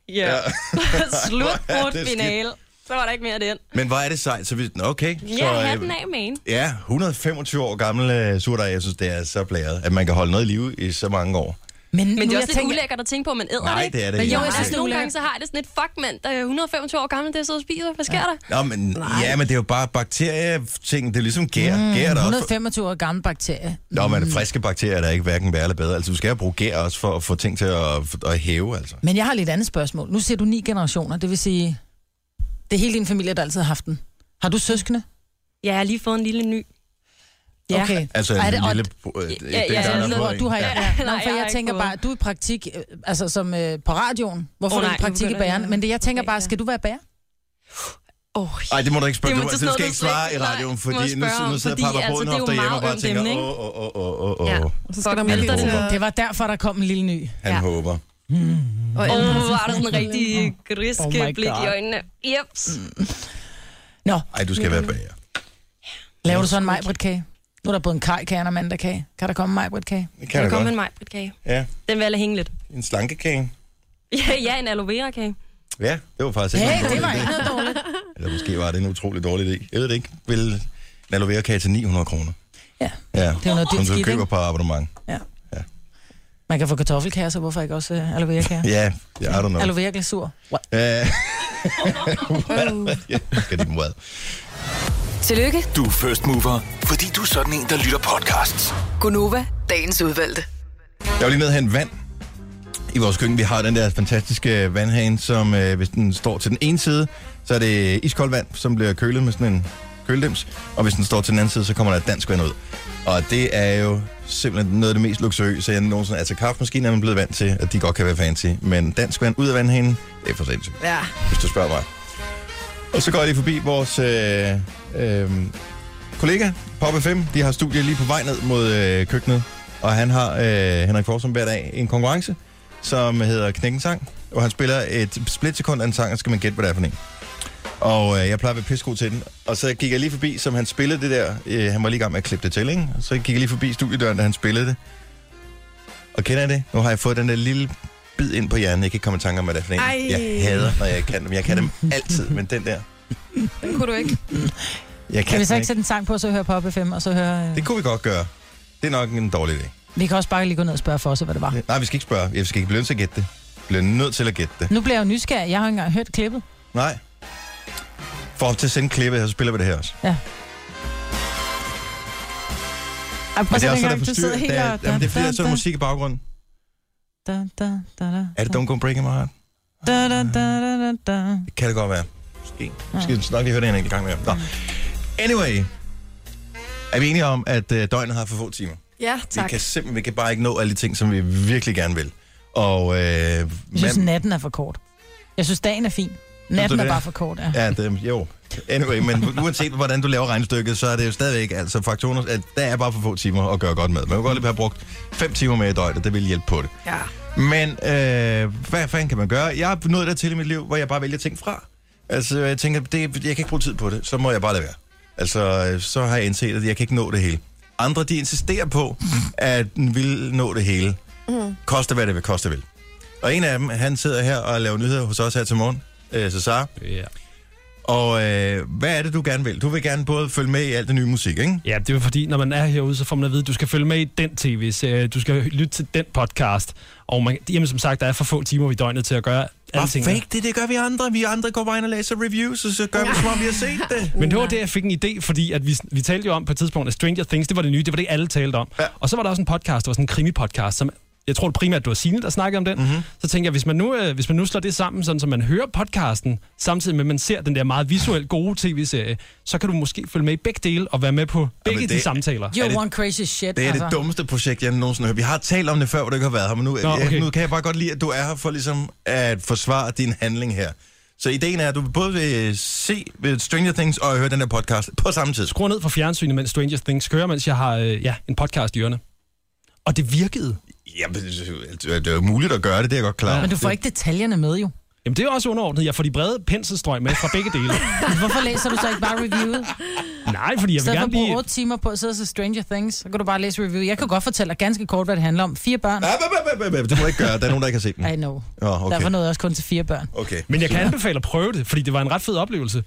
H: ja, ja. slutbrudt
A: skidt.
H: finale. Så var der ikke mere af den.
A: Men hvor er det sejt, så vi... Nå, Okay.
H: Ja,
A: så, øh,
H: hatten af, man.
A: Ja, 125 år gammel øh, surdej, jeg synes, det er så blæret, at man kan holde noget i live i så mange år.
C: Men,
H: Men
C: nu
H: det er
C: jeg
H: også lidt
C: tænker-
H: ulækkert at tænke på, at man æder
A: Nej,
H: det.
A: det er det
H: Men
A: ikke.
H: jo,
A: Nej.
H: jeg synes,
C: Det er
H: nogle
C: ulækkert.
H: gange så har jeg det sådan et, fuck mand, der er 125 år gammel, der sidder og spiser. Hvad sker ja.
A: Nå,
H: der?
A: men, ja, men det er jo bare bakterieting. Det er ligesom gær. Mm, gær er der også...
C: 125 år gammel bakterie. Mm.
A: Nå,
H: Mm.
A: men friske bakterier er der ikke hverken værre eller bedre. Altså, du skal jo bruge gær også for at få ting til at, at hæve, altså.
C: Men jeg har lidt andet spørgsmål. Nu siger du ni generationer, det vil sige, det er hele din familie, der altid har haft den. Har du søskende?
H: Ja, jeg har lige fået en lille ny. Ja.
C: Okay.
A: Altså,
C: Ej,
A: en
C: det- og-
A: lille... Øh, det- det-
H: ja,
A: det-
H: ja,
A: der er
H: jeg
A: nok
H: ved,
A: noget
C: Nå,
A: i.
C: du har ikke... Ja.
H: Nej,
C: Nå,
H: jeg
C: for
H: har
C: jeg
H: ikke
C: tænker
H: fået.
C: bare, du er i praktik, øh, altså som øh, på radioen. Hvorfor
H: Åh,
C: oh, er du
H: nej,
C: i praktik i
H: nu begynder
C: bageren?
H: jeg.
C: Men det, jeg tænker
H: Ja,
C: bare,
H: ja.
C: skal du være bager?
H: Oh,
A: Ej, det må du ikke spørge.
H: Det
A: Du,
H: må-
A: må-
H: det
A: du
H: er sådan
A: skal
H: noget,
A: ikke
H: du
A: svare i
H: ikke- nej,
A: radioen,
H: må
A: fordi
H: jeg
A: nu,
H: spørge
A: nu
H: om,
A: sidder
H: fordi,
A: Papa
H: altså,
A: Bodenhoff
H: det er jo
A: derhjemme og
H: meget
A: bare
H: ømt
A: tænker,
H: emne, ikke?
A: åh, åh, åh, åh, åh,
H: Ja.
A: åh.
B: Og så skal
H: Fuck,
B: der mælk
A: alt det
B: til
A: der.
B: at-
C: Det var derfor, der kom en lille ny.
A: Han
H: Ja.
A: håber.
E: Hmm.
B: og ældre.
H: Åh, var der sådan en rigtig
C: Oh
H: griske
C: my
H: oh blik i
C: God.
H: øjnene. Jeps.
C: Nå,
A: Ej, du skal være bager.
C: laver du så en majbritkage? Nu er der både en kajkage og en mandagkage. Kan der komme en majbritkage?
A: Det
H: Kan
A: kan
H: du
A: du
H: komme
A: godt.
H: med en majbritkage?
A: Ja,
H: Den vil jeg lade hænge lidt.
A: en slankekage.
H: Ja, ja en aloe vera kage.
A: Ja, det var faktisk ikke en
C: Hey,
A: dårlig
C: det var
A: idé.
C: ikke noget dårligt.
A: Eller måske var det en utrolig dårlig idé. Jeg ved det ikke. Vil en aloe vera kage til 900 kroner?
C: Ja,
A: Ja,
C: det er jo noget,
A: som
C: dit
A: du
C: skidt,
A: køber
C: ikke?
A: på abonnement.
C: Man kan få kartoffelkager, så hvorfor ikke også øh, aloe vera kager?
A: Ja, det er du nok.
C: Aloe vera glasur.
A: Øh, ja, skal din mad.
G: Tillykke,
D: Du er first mover, fordi du er sådan en, der lytter podcasts.
G: Gunova, dagens udvalgte.
A: Jeg var lige nede og hente vand i vores køkken. Vi har den der fantastiske vandhane, som øh, hvis den står til den ene side, så er det iskoldt vand, som bliver kølet med sådan en køledems. Og hvis den står til den anden side, så kommer der dansk vand ud. Og det er jo simpelthen noget af det mest luksuriøse, jeg nogensinde... Altså kaffemaskinen er man blevet vant til, at de godt kan være fancy. Men dansk vand ud af vandhanen, det er for sindssygt.
B: Ja,
A: hvis du spørger mig. Og så går jeg lige forbi vores øh, øh, kollega, Poppe 5. De har studier lige på vej ned mod øh, køkkenet. Og han har, øh, Henrik Forsum, hver dag en konkurrence, som hedder Knækken Sang. Hvor han spiller et splitsekund af en sang, og så skal man gætte, hvad det er for en. Og øh, jeg plejer at være pissegod til den. Og så gik jeg lige forbi, som han spillede det der. Øh, han var lige i gang med at klippe det til, ikke? Så gik jeg lige forbi studiedøren, da han spillede det. Og kender jeg det? Nu har jeg fået den der lille bid ind på hjernen. Jeg kan ikke komme i tanke om, hvad det er for en.
B: Ej.
A: Jeg hader, når jeg ikke kan dem. Jeg kan dem altid, men den der.
B: den kunne du ikke.
A: Jeg kan,
C: Kan vi så
A: den
C: ikke sætte en sang på, og så høre på FM, og så høre... Øh...
A: Det kunne vi godt gøre. Det er nok en dårlig idé.
C: Vi kan også bare lige gå ned og spørge for os, hvad det var.
A: Nej, vi skal ikke spørge. Jeg skal ikke blive nødt til at gætte det. Vi bliver nødt til at gætte det.
C: Nu bliver jeg jo nysgerrig. Jeg har ikke engang hørt klippet.
A: Nej. For op til at sende klippet her, så spiller vi det her også.
C: Ej,
A: Men
C: prøv at
A: det
C: se,
A: er også noget,
C: dengang,
A: der
C: du
A: forstyrrer.
C: sidder helt
A: Det er-
C: og-
A: Jamen, det er fordi, der er sådan
C: da,
A: musik i baggrunden.
C: da, da, da, da,
A: Er det Don't Go Breaking My Heart?
C: da, da, da, da, da, da.
A: Det kan det godt være. Måske. Skal vi nok lige høre det en enkelt gang mere. Nå. Anyway. Er vi enige om, at øh, døgnet har for få timer?
B: Ja,
A: Vi
B: tak.
A: kan simpelthen vi kan bare ikke nå alle de ting, som vi virkelig gerne vil. Og øh,
C: Jeg synes, natten er for kort. Jeg synes, dagen er fin. Natten er
A: det?
C: bare for kort, ja.
A: Ja, det, jo. Anyway, men uanset hvordan du laver regnstykket, så er det jo stadigvæk, altså faktorer, at der er bare for få timer at gøre godt med. Man kan godt lige have brugt 5 timer mere i døgnet, det vil hjælpe på det.
B: Ja.
A: Men øh, hvad fanden kan man gøre? Jeg har nået dertil i mit liv, hvor jeg bare vælger ting fra. Altså, jeg tænker, det, jeg kan ikke bruge tid på det, så må jeg bare lade være. Altså, øh, så har jeg indset, at jeg kan ikke nå det hele. Andre, de insisterer på, at den vil nå det hele. Mm. Koste hvad det vil, koste vil. Og en af dem, han sidder her og laver nyheder hos os her til morgen, øh, Cesar.
E: Ja.
A: Og øh, hvad er det, du gerne vil? Du vil gerne både følge med i alt det nye musik, ikke?
E: Ja, det er jo fordi, når man er herude, så får man at vide, at du skal følge med i den tv-serie, du skal lytte til den podcast. Og man, jamen, som sagt, der er for få timer i døgnet til at gøre alle
A: Hvad
E: tingene.
A: fake det, det gør vi andre. Vi andre går bare ind og læser reviews, og så gør vi, som om vi har set det.
E: Men det var det, jeg fik en idé, fordi at vi, vi talte jo om på et tidspunkt, at Stranger Things, det var det nye, det var det, alle talte om.
A: Ja.
E: Ja. Og så var der også en podcast, der var sådan en krimi-podcast, som jeg tror det primært, det var Signe, der snakkede om den.
A: Mhm.
E: Mm-hmm. Så tænker jeg, hvis man, nu, øh, hvis man nu slår det sammen, sådan som man hører podcasten, samtidig med, at man ser den der meget visuelt gode tv-serie, så kan du måske følge med i begge dele og være med på begge
A: det-
E: de samtaler.
C: You're
A: Er det-
C: one crazy shit,
A: Det er
C: altså.
A: det dummeste projekt, jeg nogensinde har hørt. Vi har talt om det før, hvor du ikke har været her, men nu, Nå,
E: Nå,
A: okay.
E: okay.
A: nu kan jeg bare godt lide, at du er her for ligesom at forsvare din handling her. Så ideen er, at du både vil øh, se ved Stranger Things og høre den her podcast på samme tid.
E: skruer ned for fjernsynet, mens Stranger Things kører, mens jeg har øh, ja, en podcast i ørene. Og det virkede.
A: Jamen, det er- øh, det er jo muligt at gøre det, det er jeg godt klar.
C: Men du får
A: over.
C: ikke detaljerne med, jo.
E: Jamen, det er jo også underordnet. Jeg får de brede penselstrøg med fra begge dele.
C: Hvorfor læser du så ikke bare reviewet?
E: Nej, fordi
C: I
E: jeg vil
C: stedet for
E: gerne
C: at bruge
E: blive...
C: 8 timer på at sidde og se Stranger Things, så kan du bare læse review. Jeg kan godt fortælle dig ganske kort, hvad det handler om. Fire børn.
A: Ah, bah, bah, bah, bah, bah, Det må du ikke gøre, der er nogen, der ikke har set den.
C: I know.
A: Åh, okay.
C: Der var noget også kun til fire børn.
A: Okay.
E: Men jeg kan anbefale at prøve det, fordi det var en ret fed oplevelse.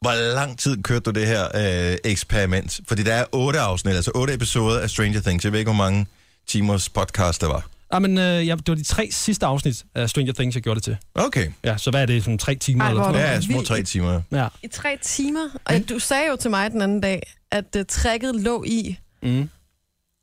A: Hvor lang tid kørte du det her øh, eksperiment? Fordi der er otte afsnit, altså otte episoder af Stranger Things. Jeg ved ikke, hvor mange timers podcast der var.
E: Ah, men, øh, ja, det var de tre sidste afsnit af Stranger Things, jeg gjorde det til.
A: Okay.
E: Ja, så hvad er det, sådan tre timer
B: Ej,
E: eller sådan
B: hvor-
E: noget?
A: Ja, små tre timer.
E: Ja.
B: I tre timer. Og du sagde jo til mig den anden dag, at uh, trækket lå i
E: Mm.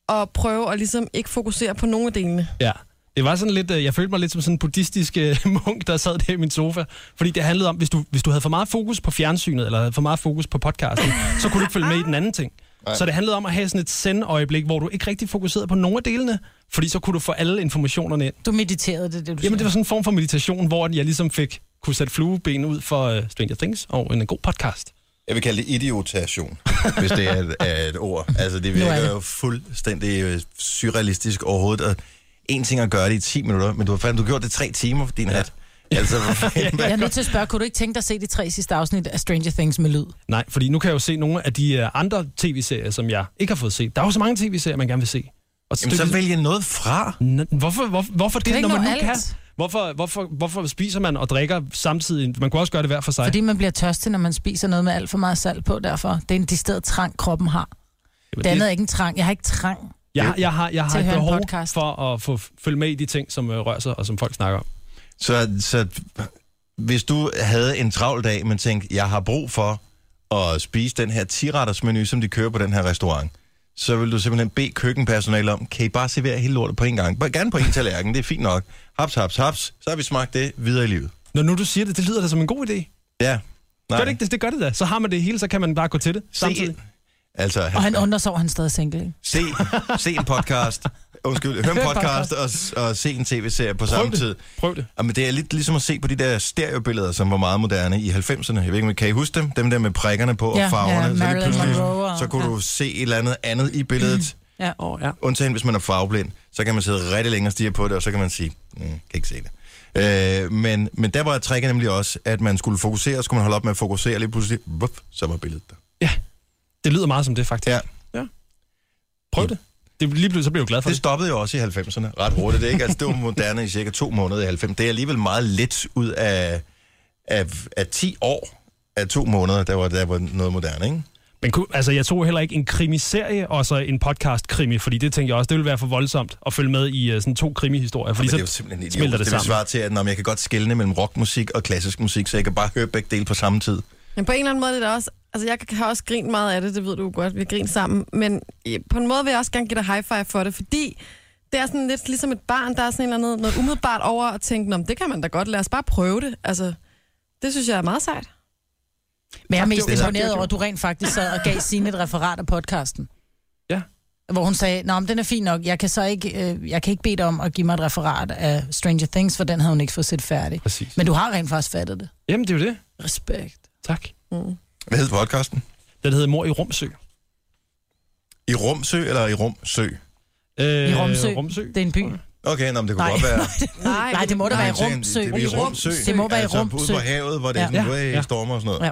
B: at prøve at ligesom ikke fokusere på nogen af delene.
E: ja. Det var sådan lidt, øh, jeg følte mig lidt som sådan en buddhistisk øh, munk, der sad der i min sofa. Fordi det handlede om, hvis du, hvis du havde for meget fokus på fjernsynet, eller havde for meget fokus på podcasten, så kunne du ikke følge med i den anden ting. Så det handlede om at have sådan et send-øjeblik, hvor du ikke rigtig fokuserede på nogen af delene, fordi så kunne du få alle informationerne ind.
C: Du mediterede det, er det du
E: Jamen det
C: siger.
E: var sådan en form for meditation, hvor jeg ligesom fik kunne sætte flueben ud for øh, Stranger Things og en, en god podcast.
A: Jeg vil kalde det idiotation, hvis det er et, er et ord. Altså, det
C: Nu er
A: virker
C: det.
A: jo fuldstændig øh, surrealistisk overhovedet. Og en ting at gøre det i 10 minutter, men du har fandme, du har gjort det tre timer for din hat. Altså, hvor fanden,
C: Jeg
A: hvad
C: er nødt til at spørge, kunne du ikke tænke dig at se de tre sidste afsnit af Stranger Things med lyd?
E: Nej, fordi nu kan jeg jo se nogle af de øh, andre tv-serier, som jeg ikke har fået set. Der er jo så mange tv-serier, man gerne vil se. Og
A: Jamen, så
E: det-
A: vælg noget fra.
E: N- Hvorfor, hvorfor, hvorfor
C: Kan
E: det,
C: du
E: når
C: ikke
E: man
C: nå
E: nu
C: alt?
E: kan? Hvorfor, hvorfor, hvorfor spiser man og drikker samtidig? Man kunne også gøre det hver for sig.
C: Fordi man bliver tørstig, når man spiser noget med alt for meget salt på, derfor. Det er en distilleret trang, kroppen har.
E: Jamen,
C: Det andet
E: det,
C: er ikke en trang. Jeg har ikke trang.
E: jeg, jeg har, jeg
C: til
E: har
C: at
E: et
C: høre en
E: behov
C: podcast.
E: for at få følge med i de ting, som øh, rører sig og som folk snakker om.
A: Så, så hvis du havde en travl dag, men tænkte, jeg har brug for at spise den her 10-retters menu, som de kører på den her restaurant, så vil du simpelthen bede køkkenpersonale om, kan I bare servere hele lortet på en gang? Bare gerne på en tallerken, det er fint nok. Haps, haps, haps, så har vi smagt det videre i livet.
E: Når nu du siger det, det lyder da som en god idé.
A: Ja.
E: Gør det ikke det? Det gør det da. Så har man det hele, så kan man bare gå til det samtidig.
A: Se, altså,
C: Og han
A: han,
C: undrer sig over, at han stadig er single. Ikke?
A: se, se en podcast, undskyld, hør en podcast og, og se en tv-serie på samme
E: det.
A: tid.
E: Prøv det.
A: Jamen, det er lidt ligesom at se på de der stereobilleder, som var meget moderne i 90'erne. Jeg ved ikke, om I kan I huske dem? Dem der med prikkerne på og
C: Ja,
A: farverne.
C: ja,
A: så, lige
C: Marilyn
A: pludselig,
C: Monroe og-
A: så kunne
C: ja.
A: du se et eller andet andet i billedet.
C: Ja.
E: Oh, ja.
A: Undtagen hvis man er farveblind, så kan man sidde rigtig længe og stige på det, og så kan man sige, mm, kan ikke se det. Øh, men, men der var tricket nemlig også, at man skulle fokusere, og skulle man holde op med at fokusere, og lige pludselig, vup, så var billedet der.
E: ja. Det lyder meget som det, faktisk.
A: Ja. Mm.
E: ja. Prøv det. det lige pludselig, så bliver jeg glad for
A: Det
E: det.
A: stoppede jo også i 90'erne ret hurtigt. Det, er ikke? Altså, det var moderne i cirka to måneder i 90'erne. Det er alligevel meget let ud af, af, af 10 år af to måneder, der var, der var noget moderne, ikke?
E: Men kunne, altså, jeg tog heller ikke en krimiserie og så en podcast-krimi, fordi det tænkte jeg også, det ville være for voldsomt at følge med i uh, sådan to krimihistorier. Fordi
A: Men det er jo
E: så
A: simpelthen idiotisk.
E: smelter
A: Det,
E: det
A: det vil
E: sammen.
A: svare til, at når jeg kan godt skelne mellem rockmusik og klassisk musik, så jeg kan bare høre begge dele på samme tid.
B: Men på en eller anden måde er det da også... Altså, jeg kan- har også grint meget af det, det ved du jo godt, vi har grint sammen. Men i- på en måde vil jeg også gerne give dig high five for det, fordi det er sådan lidt ligesom et barn, der er sådan en eller anden, noget umiddelbart over at tænke, "Nå, men det kan man da godt, lad os bare prøve det. Altså, det synes jeg er meget sejt.
C: Men jeg er mest
A: jo.
C: imponeret over, at du rent faktisk sad og gav sine et referat af podcasten.
E: Ja.
C: hvor hun sagde, Nå, men den er fin nok, jeg kan så ikke, øh, jeg kan ikke bede dig om at give mig et referat af Stranger Things, for den havde hun ikke fået set færdig.
E: Præcis.
C: Men du har rent faktisk fattet det.
E: Jamen, det er jo det.
C: Respekt.
E: Tak.
A: Hvad hedder podcasten?
E: Den hedder Mor i Rumsø.
A: I Rumsø eller i Rumsø?
E: Øh,
C: I Rumsø.
E: Rumsø.
C: Det er en by.
A: Okay, nå, men det kunne
C: Nej.
A: godt være...
B: Nej,
C: Nej, det må da være i
A: Nej, tænk,
C: Rumsø.
A: Det, det, er i Rumsø.
C: Det må være i
A: altså, ude
C: Rumsø.
A: på havet, hvor det er
C: Ja.
A: sådan, ja.
E: Ja.
A: stormer og sådan noget.
C: Ja.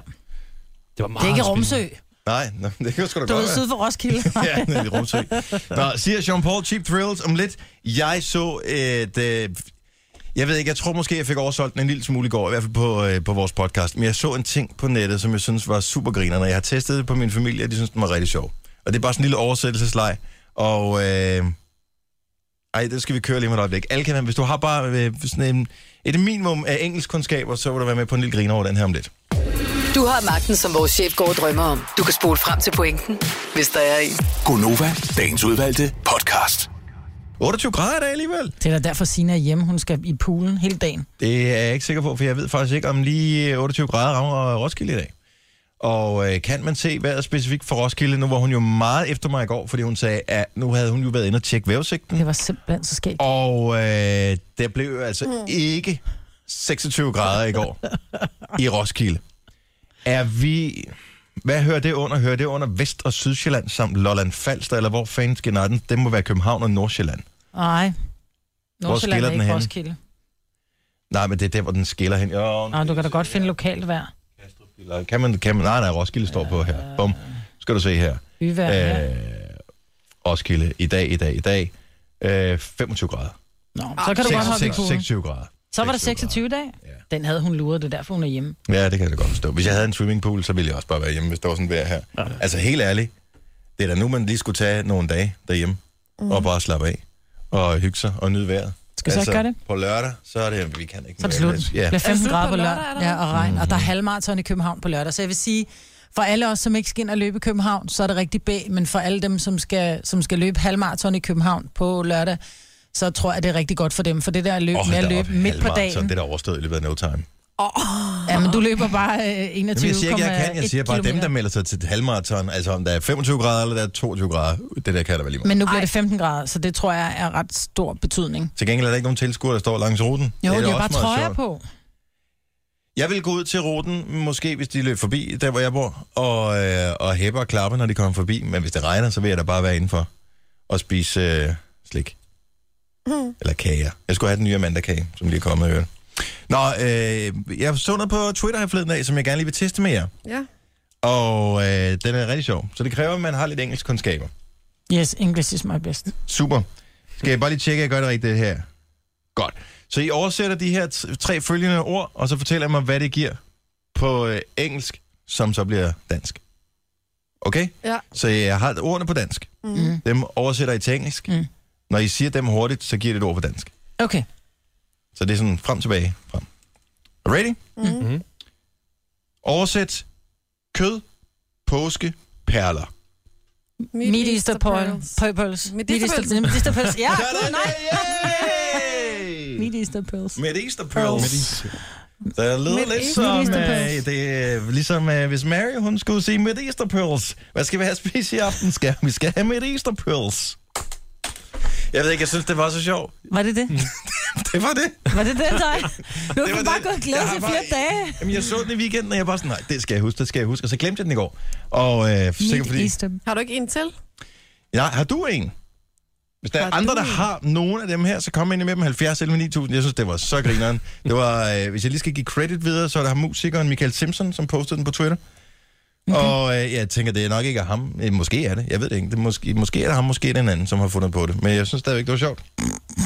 E: Det var
C: Det
E: meget
C: er ikke
E: spændende.
C: Rumsø.
A: Nej, nå, det kan jo sgu da
C: Du
A: godt
C: er
A: være.
C: syd for Roskilde.
A: ja, nede i Rumsø. Nå, siger Jean-Paul Cheap Thrills om lidt. Jeg så et... Øh, jeg ved ikke, jeg tror måske, jeg fik oversolgt den en lille smule i går, i hvert fald på, øh, på vores podcast. Men jeg så en ting på nettet, som jeg synes var super grinerende. Jeg har testet det på min familie, og de synes, den var rigtig sjov. Og det er bare sådan en lille oversættelsesleg. Og... Øh, ej, det skal vi køre lige med et øjeblik. Alle kan, være- hvis du har bare øh, sådan en, et minimum af engelskkundskaber, så vil du være med på en lille griner over den her om lidt.
G: Du har magten, som vores chef går og drømmer om. Du kan spole frem til pointen, hvis der er en.
D: Gonova, dagens udvalgte podcast.
A: 28 grader i dag alligevel.
C: Det er da derfor, Sina er hjemme. Hun skal i poolen hele dagen.
A: Det er jeg ikke sikker på, for jeg ved faktisk ikke, om lige 28 grader rammer Roskilde i dag. Og øh, kan man se vejret specifikt for Roskilde? Nu var hun jo meget efter mig i går, fordi hun sagde, at nu havde hun jo været inde og tjekke
C: Det
A: vævesigten.
C: var simpelthen så skægt.
A: Og øh, der blev jo altså ikke 26 grader i går i Roskilde. Er vi... Hvad hører det under? Hører det under Vest- og Sydsjælland samt Lolland Falster, eller hvor fanden skal natten? Det må være København og Nordsjælland.
C: Nej. Nordsjælland
A: skiller
C: er
A: den
C: ikke
A: henne?
C: Roskilde.
A: Nej, men det er der, hvor den skiller hen. Jo,
C: Nå, Ah, du kan da godt finde lokalt vejr.
A: Eller Kan man, kan man, nej, nej, Roskilde står på her. Bum. Skal du se her.
C: Byvejr. Ja.
A: Øh, Roskilde i dag, i dag, i dag. Øh, 25 grader.
C: Nå, men så kan du godt hoppe i
A: 26,
C: poolen.
A: 26 grader.
C: Så var der 26 dage. Den havde hun luret, det er derfor, hun er hjemme.
A: Ja, det kan jeg da godt forstå. Hvis jeg havde en swimmingpool, så ville jeg også bare være hjemme, hvis der var sådan vejr her. Altså helt ærligt, det er da nu, man lige skulle tage nogle dage derhjemme,
C: Mhm.
A: og bare slappe af, og hygge sig, og nyde vejret.
C: Skal vi så ikke gøre det?
A: På lørdag, så er det, vi kan ikke
C: Så er det
A: mere.
C: slut.
A: Altså, Ja. Mm.
C: Bliver 15
B: slut
C: grader på
B: på
C: lørdag,
B: lørdag, er der
C: ja, og regn. Og der er halvmarathon i København på lørdag. Så jeg vil sige, for alle os, som ikke skal ind og løbe i København, så er det rigtig B. Men for alle dem, som skal, som skal løbe halvmarathon i København på lørdag, så tror jeg, det er rigtig godt for dem. For det der løb
A: Åh,
C: med
A: hold
C: at
A: da
C: løbe midt på
A: halvmarathon,
C: dagen.
A: Det er da overstået i løbet af no time.
C: Ja, men du løber bare øh, 21,1
A: Jamen, jeg siger ikke, jeg kan. Jeg siger bare, dem, der
C: kilometer.
A: melder sig til et halvmarathon, altså om der er 25 grader eller der er 22 grader, det der kan der vel lige meget.
C: Men nu bliver det 15 grader, så det tror jeg er ret stor betydning.
A: Til gengæld er der ikke nogen tilskuere, der står langs ruten. det
C: Jo, det er
A: da også
C: jo bare
A: meget sjovt.
C: trøjer på.
A: Jeg vil gå ud til ruten, måske hvis de løb forbi, der hvor jeg bor, og, øh, og hæppe og klappe, når de kommer forbi. Men hvis det regner, så vil jeg da bare være indenfor og spise øh, slik. Mm. Eller kager. Jeg skulle have den nye mandagkage, som lige er kommet i øvrigt. Nå, øh, jeg så noget på Twitter her forleden dag, som jeg gerne lige vil teste med jer.
B: Ja.
A: Og øh, den er rigtig sjov. Så det kræver, at man har lidt engelsk kundskaber.
C: Yes, English is my best.
A: Super. Skal jeg bare lige tjekke, at jeg gør det rigtigt her? Godt. Så I oversætter de her t- tre følgende ord, og så fortæller I mig, hvad det giver på øh, engelsk, som så bliver dansk. Okay?
B: Ja.
A: Så jeg har ordene på dansk.
C: Mm.
A: Dem oversætter I til engelsk.
C: Mm.
A: Når I siger dem hurtigt, så giver det et ord på dansk.
C: Okay.
A: Så det er sådan frem tilbage. Frem. Ready?
E: Mhm.
A: Oversæt kød, påske, perler.
C: Meat Easter pearls. Pearls.
B: Meat Easter pearls.
C: Meat Easter pearls. Ja, gud, nej.
A: Yay!
C: Meat Easter pearls.
A: Med Easter pearls.
C: Med
A: Det lyder
B: Med
A: lidt
B: Easter-
A: som,
B: Med Easter
A: øh,
B: pearls.
A: det er ligesom øh, hvis Mary hun skulle sige med Easter pearls. Hvad skal vi have at spise i aften? Skal vi skal have med Easter pearls? Jeg ved ikke, jeg synes, det var så sjovt.
C: Var det det?
A: Det var det.
C: Var det det, dig? Nu
A: Det
C: kan
A: var
C: du bare
A: det.
C: gå og glæde
A: Jeg har
C: sig i
A: bare-
C: flere dage.
A: Jamen, jeg så den i weekenden, og jeg var bare sådan, nej, det skal jeg huske, det skal jeg huske. Og så glemte jeg den i går. Og øh, sikkert fordi...
C: Easter.
B: Har du ikke en til?
A: Ja, har du en? Hvis der er
B: Har
A: andre,
B: du
A: der
B: en?
A: har nogen af dem her, så kom ind med dem 70 11 9000. Jeg synes, det var så grineren. Det var, øh, hvis jeg lige skal give credit videre, så er der ham musikeren Michael Simpson, som postede den på Twitter. Okay. Og øh, jeg tænker, det er nok ikke af ham. Øh, måske er det, jeg ved det ikke. Det er måske, måske er det ham, måske er det en anden, som har fundet på det. Men jeg synes stadigvæk, det var sjovt.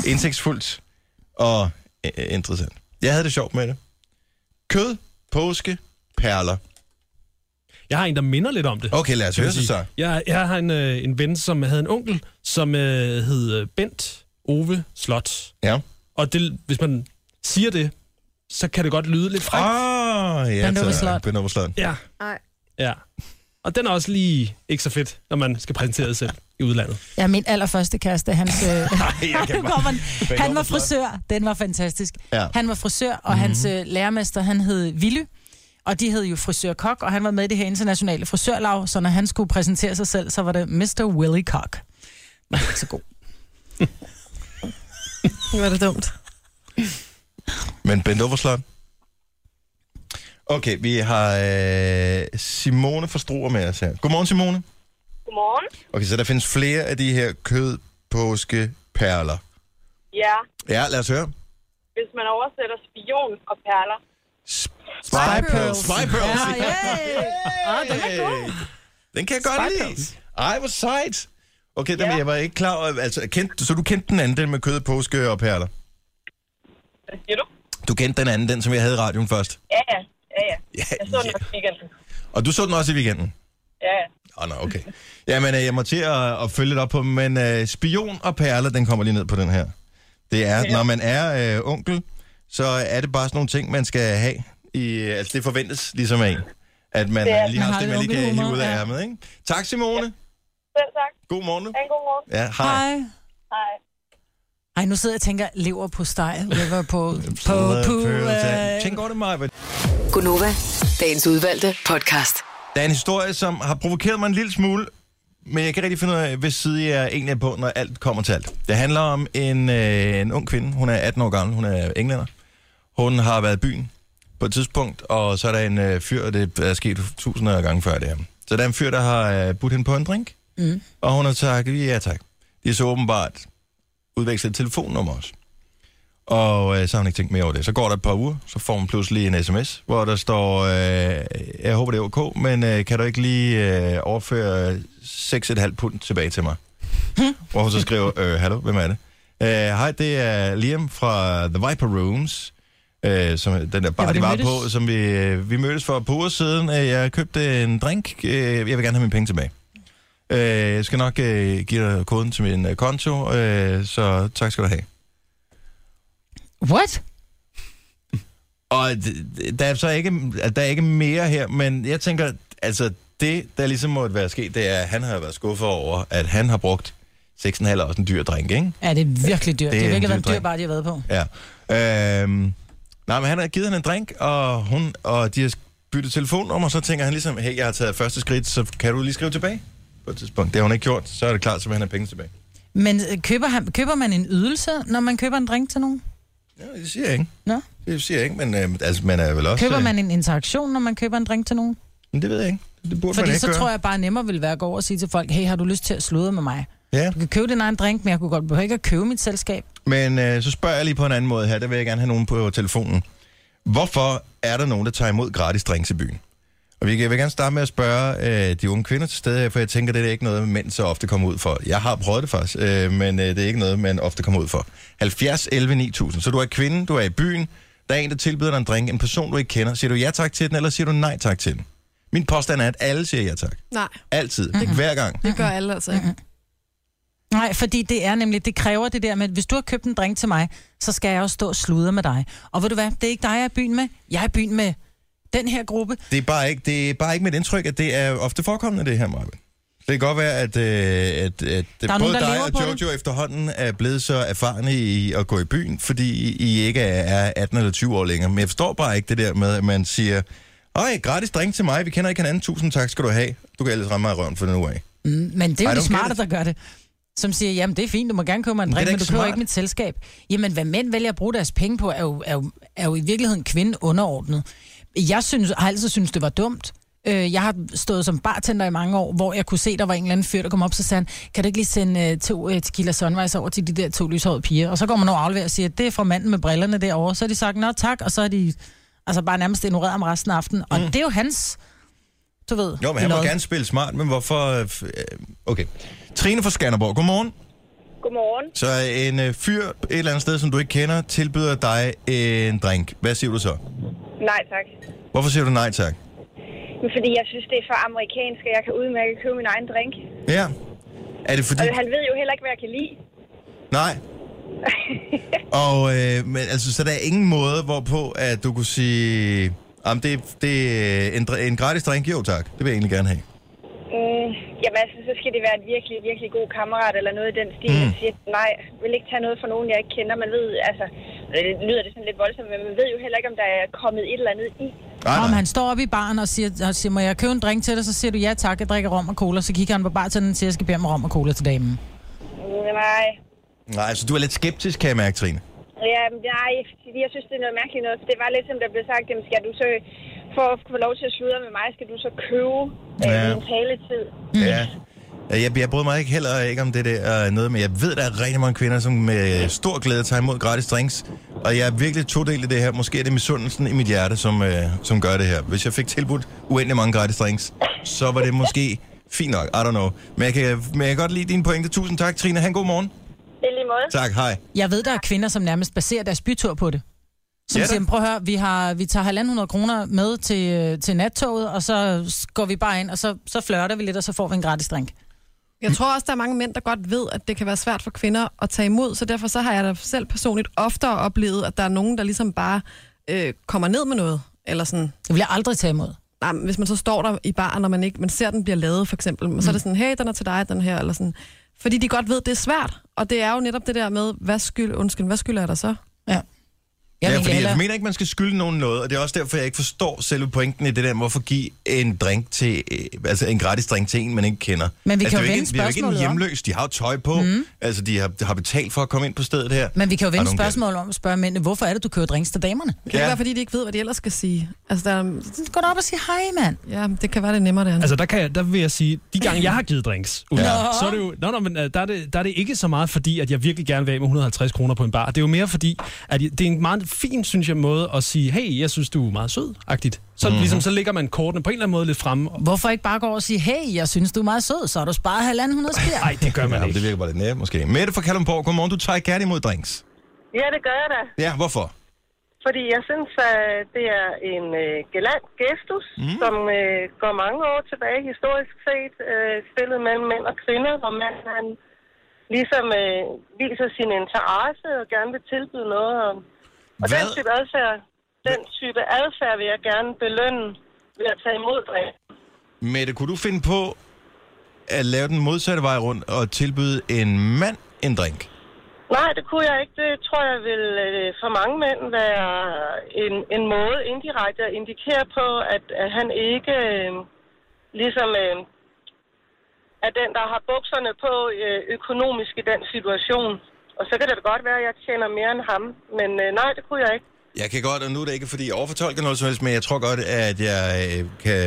A: Indsigtsfuldt og øh, øh, interessant. Jeg havde det sjovt med det. Kød, påske, perler.
E: Jeg har en, der minder lidt om det.
A: Okay, lad os
E: kan
A: høre
E: man
A: så.
E: sige.
A: så.
E: Jeg, jeg har en, øh, en ven, som havde en onkel, som øh, hed øh, Bent Ove Slot.
A: Ja.
E: Og det, hvis man siger det, så kan det godt lyde lidt frækt.
A: Ah, ja,
C: Bent Ove
A: tak.
C: Slot.
A: Bent Ove Slot.
E: Ja.
B: Nej.
E: Ja. Og den er også lige ikke så fedt, når man skal præsentere sig selv i udlandet.
C: Ja, min allerførste kæreste, hans... Øh,
A: jeg kan
C: nu
A: bare-
C: kommer den. han var
A: Overflade.
C: frisør. Den var fantastisk.
A: Ja. Mhm.
C: Han var frisør, og mm-hmm. hans øh, lærermester, han hed Ville. Og de hed jo frisør Kok, og han var med i det her internationale frisørlag, så når han skulle præsentere sig selv, så var det Mr. Willy Kok. ikke så god.
B: Var det dumt?
A: Men bent over slot. Okay, vi har øh, Simone fra Struer med os her. Godmorgen, Simone.
I: Godmorgen.
A: Okay, så der findes flere af de her kødpåskeperler.
I: Ja,
A: Ja, lad os høre.
I: hvis man oversætter spion og perler.
A: Spy pearls. Spy pearls.
C: Ja, Ah, yeah.
A: Hey. Den kan jeg godt lide. Ej, hvor sejt. Okay, den, jeg var ikke klar over. Altså, kendte, så du kendte den anden, den med kød, påske og perler?
I: Hvad siger du?
A: Du kendte den anden, den som jeg havde i radioen først.
I: Ja, ja. Ja, ja.
A: Ja,
I: Jeg så den
A: ja.
I: også i weekenden.
A: Og du så den også i weekenden?
I: Ja, ja.
A: Åh, oh, nå, okay. Jamen, øh, jeg må til at, at følge lidt op på dem, men øh, spion og perler, den kommer lige ned på den her. Det er, når man er øh, onkel, så er det bare sådan nogle ting, man skal have. I, øh, altså, det forventes ligesom af en. At man øh, lige
C: Man
A: har
C: har
A: det,
C: lidt
A: man lige kan hive
C: onkelhumor,
A: ud af
C: ja.
A: ærmet, ikke? Tak, Simone.
I: Selv tak.
A: God morgen. nu.
I: Ha' en god morgen.
A: Ja, hej.
C: Hej.
I: Hej.
C: Ej, nu sidder jeg og tænker, lever på steg, lever på... på, på
A: Hej.
C: øh,
A: Tænk over det, Maja.
G: Gunova, dagens udvalgte podcast.
A: Der er en historie, som har provokeret mig en lille smule, men jeg kan ikke rigtig finde ud af, hvis side jeg egentlig er på, når alt kommer til alt. Det handler om en, øh, en ung kvinde. Hun er 18 år gammel. Hun er englænder. Hun har været i byen på et tidspunkt, og så er der en øh, fyr, og det er sket tusinder af gange før det her. Så der er en fyr, der har øh, budt hende på en drink, mm. og hun har sagt, ja tak. De er så åbenbart udvekslet et telefonnummer også. Og øh, så har hun ikke tænkt mere over det. Så går der et par uger, så får hun pludselig en sms, hvor der står, øh, jeg håber det er ok, men øh, kan du ikke lige øh, overføre 6,5 pund tilbage til mig? hvor hun så skriver, øh, hallo, hvem er det? Øh, Hej, det er Liam fra The Viper Rooms, øh, som er den der bar,
C: Ja,
A: ja,
C: hvor
A: de
C: de
A: var
C: mødtes.
A: på, som vi, øh, vi mødtes for et par uger siden. Øh, Jeg købte en drink, øh, jeg vil gerne have mine penge tilbage. Øh, Jeg skal nok øh, give dig koden til min øh, konto, øh, så tak skal du have.
C: What?
A: Og d- d- der er så ikke, at der er ikke mere her, men jeg tænker, altså det, der ligesom måtte være sket, det er, at han har været skuffet over, at han har brugt 6,5 er også en dyr drink, ikke?
C: Ja, det er virkelig
A: Det
C: dyrt. Det,
A: er
C: har
A: en dyr
C: virkelig været en dyr
A: dreng.
C: bar, de har været på.
A: Ja. Øhm, nej, men han har givet hende en drink, og, hun, og de har byttet telefonnummer, så tænker han ligesom, hey, jeg har taget første skridt, så kan du lige skrive tilbage? På et tidspunkt. Det har hun ikke gjort, så er det klart, så vil han have penge tilbage.
C: Men øh, køber, han, køber man en ydelse, når man køber en drink til nogen?
A: Ja, det siger jeg ikke.
C: Nå?
A: Det siger jeg ikke, men øh, altså, man er vel også...
C: Køber
A: øh,
C: man en interaktion, når man køber en drink til nogen?
A: Men det ved jeg ikke. Det burde man
C: Fordi
A: ikke
C: så
A: gøre.
C: tror jeg bare nemmere vil være at gå over og sige til folk, hey, har du lyst til at sludre med mig?
A: Ja.
C: Du kan købe din egen drink, men jeg kunne godt behøve ikke at købe mit selskab.
A: Men øh, så spørger jeg lige på en anden måde her, der vil jeg gerne have nogen på telefonen. Hvorfor er der nogen, der tager imod gratis drinks i byen? Og vi kan- jeg vil gerne starte med at spørge øh, de unge kvinder til stede her, for jeg tænker, det er ikke noget, mænd så ofte kommer ud for. Jeg har prøvet det faktisk, øh, men øh, det er ikke noget, man ofte kommer ud for. 70, 11, 9000. Så du er kvinde, du er i byen, der er en, der tilbyder dig en drink, en person, du ikke kender. Siger du ja tak til den, eller siger du nej tak til den? Min påstand er, at alle siger ja tak.
B: Nej,
A: Altid. Hver gang.
B: det gør alle altså ikke.
C: Nej, fordi det er nemlig, det kræver det der med, at hvis du har købt en drink til mig, så skal jeg også stå og sludre med dig. Og ved du hvad, det er ikke dig, jeg er i byen med. Jeg er i byen med den her gruppe.
A: Det er bare ikke, det er bare ikke mit indtryk, at det er ofte forekommende, det her, Marvin. Det kan godt være, at, øh, at, at både
C: er nogen, der
A: dig
C: lever
A: og
C: på
A: Jojo efterhånden er blevet så erfarne i at gå i byen, fordi I ikke er er 18 eller 20 år længere. Men jeg forstår bare ikke det der med, at man siger, Øj, gratis drink til mig, vi kender ikke hinanden, tusind tak skal du have. Du kan ellers ramme mig i røven for nu af.
C: Mm, Men det
A: I
C: er jo
A: don't
C: de
A: get
C: smarte,
A: it.
C: der gør det. Som siger, jamen det er fint, du må gerne købe mig en
A: Men det er
C: drink,
A: da
C: men
A: ikke
C: du køber
A: smart.
C: ikke mit selskab. Jamen hvad mænd vælger at bruge deres penge på, er jo, er jo, er jo i virkeligheden kvinde underordnet. Jeg synes, har altid synes det var dumt. Øh, Jeg har stået som bartender i mange år, hvor jeg kunne se, der var en eller anden fyr, der kom op, så sagde han, kan du ikke lige sende øh, to øh, tequila sunrise over til de der to lyshårede piger? Og så går man over og afleverer og siger, det er fra manden med brillerne derovre. Så har de sagt, nå tak, og så har de altså bare nærmest ignoreret ham resten af aftenen. Og mm. det er jo hans, du ved.
A: Jo, men han må
C: lod.
A: gerne spille smart, men hvorfor... øh, f- øh, Okay. Trine fra Skanderborg, godmorgen.
I: Godmorgen.
A: Så en øh, fyr et eller andet sted, som du ikke kender, tilbyder dig en drink. Hvad siger du så?
I: Nej, tak.
A: Hvorfor siger du nej tak?
I: Men fordi jeg synes, det er for amerikansk, og jeg kan udmærke købe min egen drink.
A: Ja. Er det fordi...
I: Og han ved jo heller ikke, hvad jeg kan lide.
A: Nej. Og øh, men, altså, så der er ingen måde, hvorpå at du kunne sige, jamen det, det er en, dr- en gratis drink, jo tak, det vil jeg egentlig gerne have.
J: Øh,
I: Mm, jamen altså, så skal det være en virkelig, virkelig god kammerat eller noget i den stil. Mm. Siger, nej, vil ikke tage noget fra nogen, jeg ikke kender. Man ved, altså, øh, lyder det sådan lidt voldsomt, men man ved jo heller ikke, om der er kommet et eller andet i.
A: Nej,
C: Om
A: nej.
C: han står op i baren og siger, og siger, må jeg købe en drink til dig? Så siger du, ja tak, jeg drikker rom og cola. Så kigger han på bartenderen og siger, jeg skal bede om rom og cola til damen.
I: Mm,
J: Nej.
A: Nej, så du er lidt skeptisk, kan jeg mærke, Trine.
J: Ja, men nej, fordi jeg synes, det er noget mærkeligt noget. For det var lidt, som der blev sagt, jamen, skal du så, for at få lov til at sludre med mig, skal du så købe øh,
A: Ja.
J: min taletid.
A: Ja. Jeg, jeg bryder mig ikke heller ikke om det der øh, noget, men jeg ved, der er rigtig mange kvinder, som med stor glæde tager imod gratis drinks. Og jeg er virkelig todel i det her. Måske er det misundelsen i mit hjerte, som, øh, som gør det her. Hvis jeg fik tilbudt uendelig mange gratis drinks, så var det måske fint nok. I don't know. Men jeg kan, men jeg kan godt lide dine pointe. Tusind tak, Trine. Han god morgen.
J: Det er lige måde.
A: Tak, hej.
C: Jeg ved, der er kvinder, som nærmest baserer deres bytur på det. Som
A: Ja
C: ja,
A: da.
C: siger, prøv at høre, vi, har, vi tager 1.500 kroner med til, til nattoget, og så går vi bare ind, og så, så flørter vi lidt, og så får vi en gratis drink.
B: Jeg tror også, der er mange mænd, der godt ved, at det kan være svært for kvinder at tage imod, så derfor så har jeg da selv personligt oftere oplevet, at der er nogen, der ligesom bare øh, kommer ned med noget, eller sådan,
C: Det vil jeg aldrig tage imod.
B: nej, men hvis man så står der i baren, når man ikke man ser, den bliver lavet, for eksempel, mm. så er det sådan, hey, den er til dig, den her, eller sådan. Fordi de godt ved, det er svært, og det er jo netop det der med, hvad skyld, undskyld, hvad skylder jeg dig så?
C: Ja. Jeg
A: Ja,
C: vil
A: fordi
C: hellere-
A: jeg mener ikke, man skal skylde nogen noget, og det er også derfor, jeg ikke forstår selve pointen i det der, hvorfor give en drink til, øh, altså en gratis drink til en, man ikke kender.
C: Men vi
A: altså,
C: kan
A: det er jo
C: jo vende
A: ikke, det er jo ikke en
C: spørgsmålet om.
A: hjemløs, de har jo tøj på, mm. altså de har, har betalt for at komme ind på stedet her.
C: Men vi kan jo
A: I
C: vende
A: don't get
C: spørgsmål om at spørge mændene, hvorfor er det, du kører drinks til damerne?
A: it.
B: Det kan
A: Ja.
B: ja. være, fordi de ikke ved, hvad de ellers skal sige. Altså, der,
C: Gå da op og sig hej, mand.
B: ja, det kan være, det er nemmere, det
I: Mm.
B: andet.
E: Altså, der, kan jeg, der vil jeg sige, de gange jeg har givet drinks, ja. så er det jo, nå, nå, men, øh, der, er det, der er det ikke så meget fordi, at jeg virkelig gerne vil af med 150 kroner på en bar. Det er jo mere fordi, at jeg- det er en meget fin, synes jeg, måde at sige, hey, jeg synes, du er meget sød-agtigt. Så, mm-hmm. ligesom, så ligger man kortene på en eller anden måde lidt fremme.
C: Hvorfor ikke bare gå over og sige, hey, jeg synes, du er meget sød, så har du sparet 1.500 spjær?
E: Nej, det gør man
A: Ja, det
E: ikke.
A: virker bare lidt nært, måske. Mette fra Kalundborg, godmorgen, du tager gerne imod drinks.
J: Ja, det gør jeg da.
A: Ja, hvorfor?
J: Fordi jeg synes, at det er en øh, galant gestus, mm. som øh, går mange år tilbage historisk set, øh, spillet mellem mænd og kvinder, hvor manden han ligesom øh, viser sin interesse og gerne vil tilbyde noget. Og, og
A: Hvad?
J: den type adfærd, den type adfærd vil jeg gerne belønne ved at tage imod drink.
A: Mette, kunne du finde på at lave den modsatte vej rundt og tilbyde en mand en drink?
J: Nej, det kunne jeg ikke. Det tror jeg vil øh, for mange mænd være en, en måde indirekte at indikere på, at, at han ikke øh, ligesom øh, er den, der har bukserne på øh, økonomisk i den situation. Og så kan det da godt være, at jeg tjener mere end ham. Men øh, nej, det kunne jeg ikke.
A: Jeg kan godt, og nu er det ikke, fordi jeg overfortolker noget som helst, men jeg tror godt, at jeg øh, kan,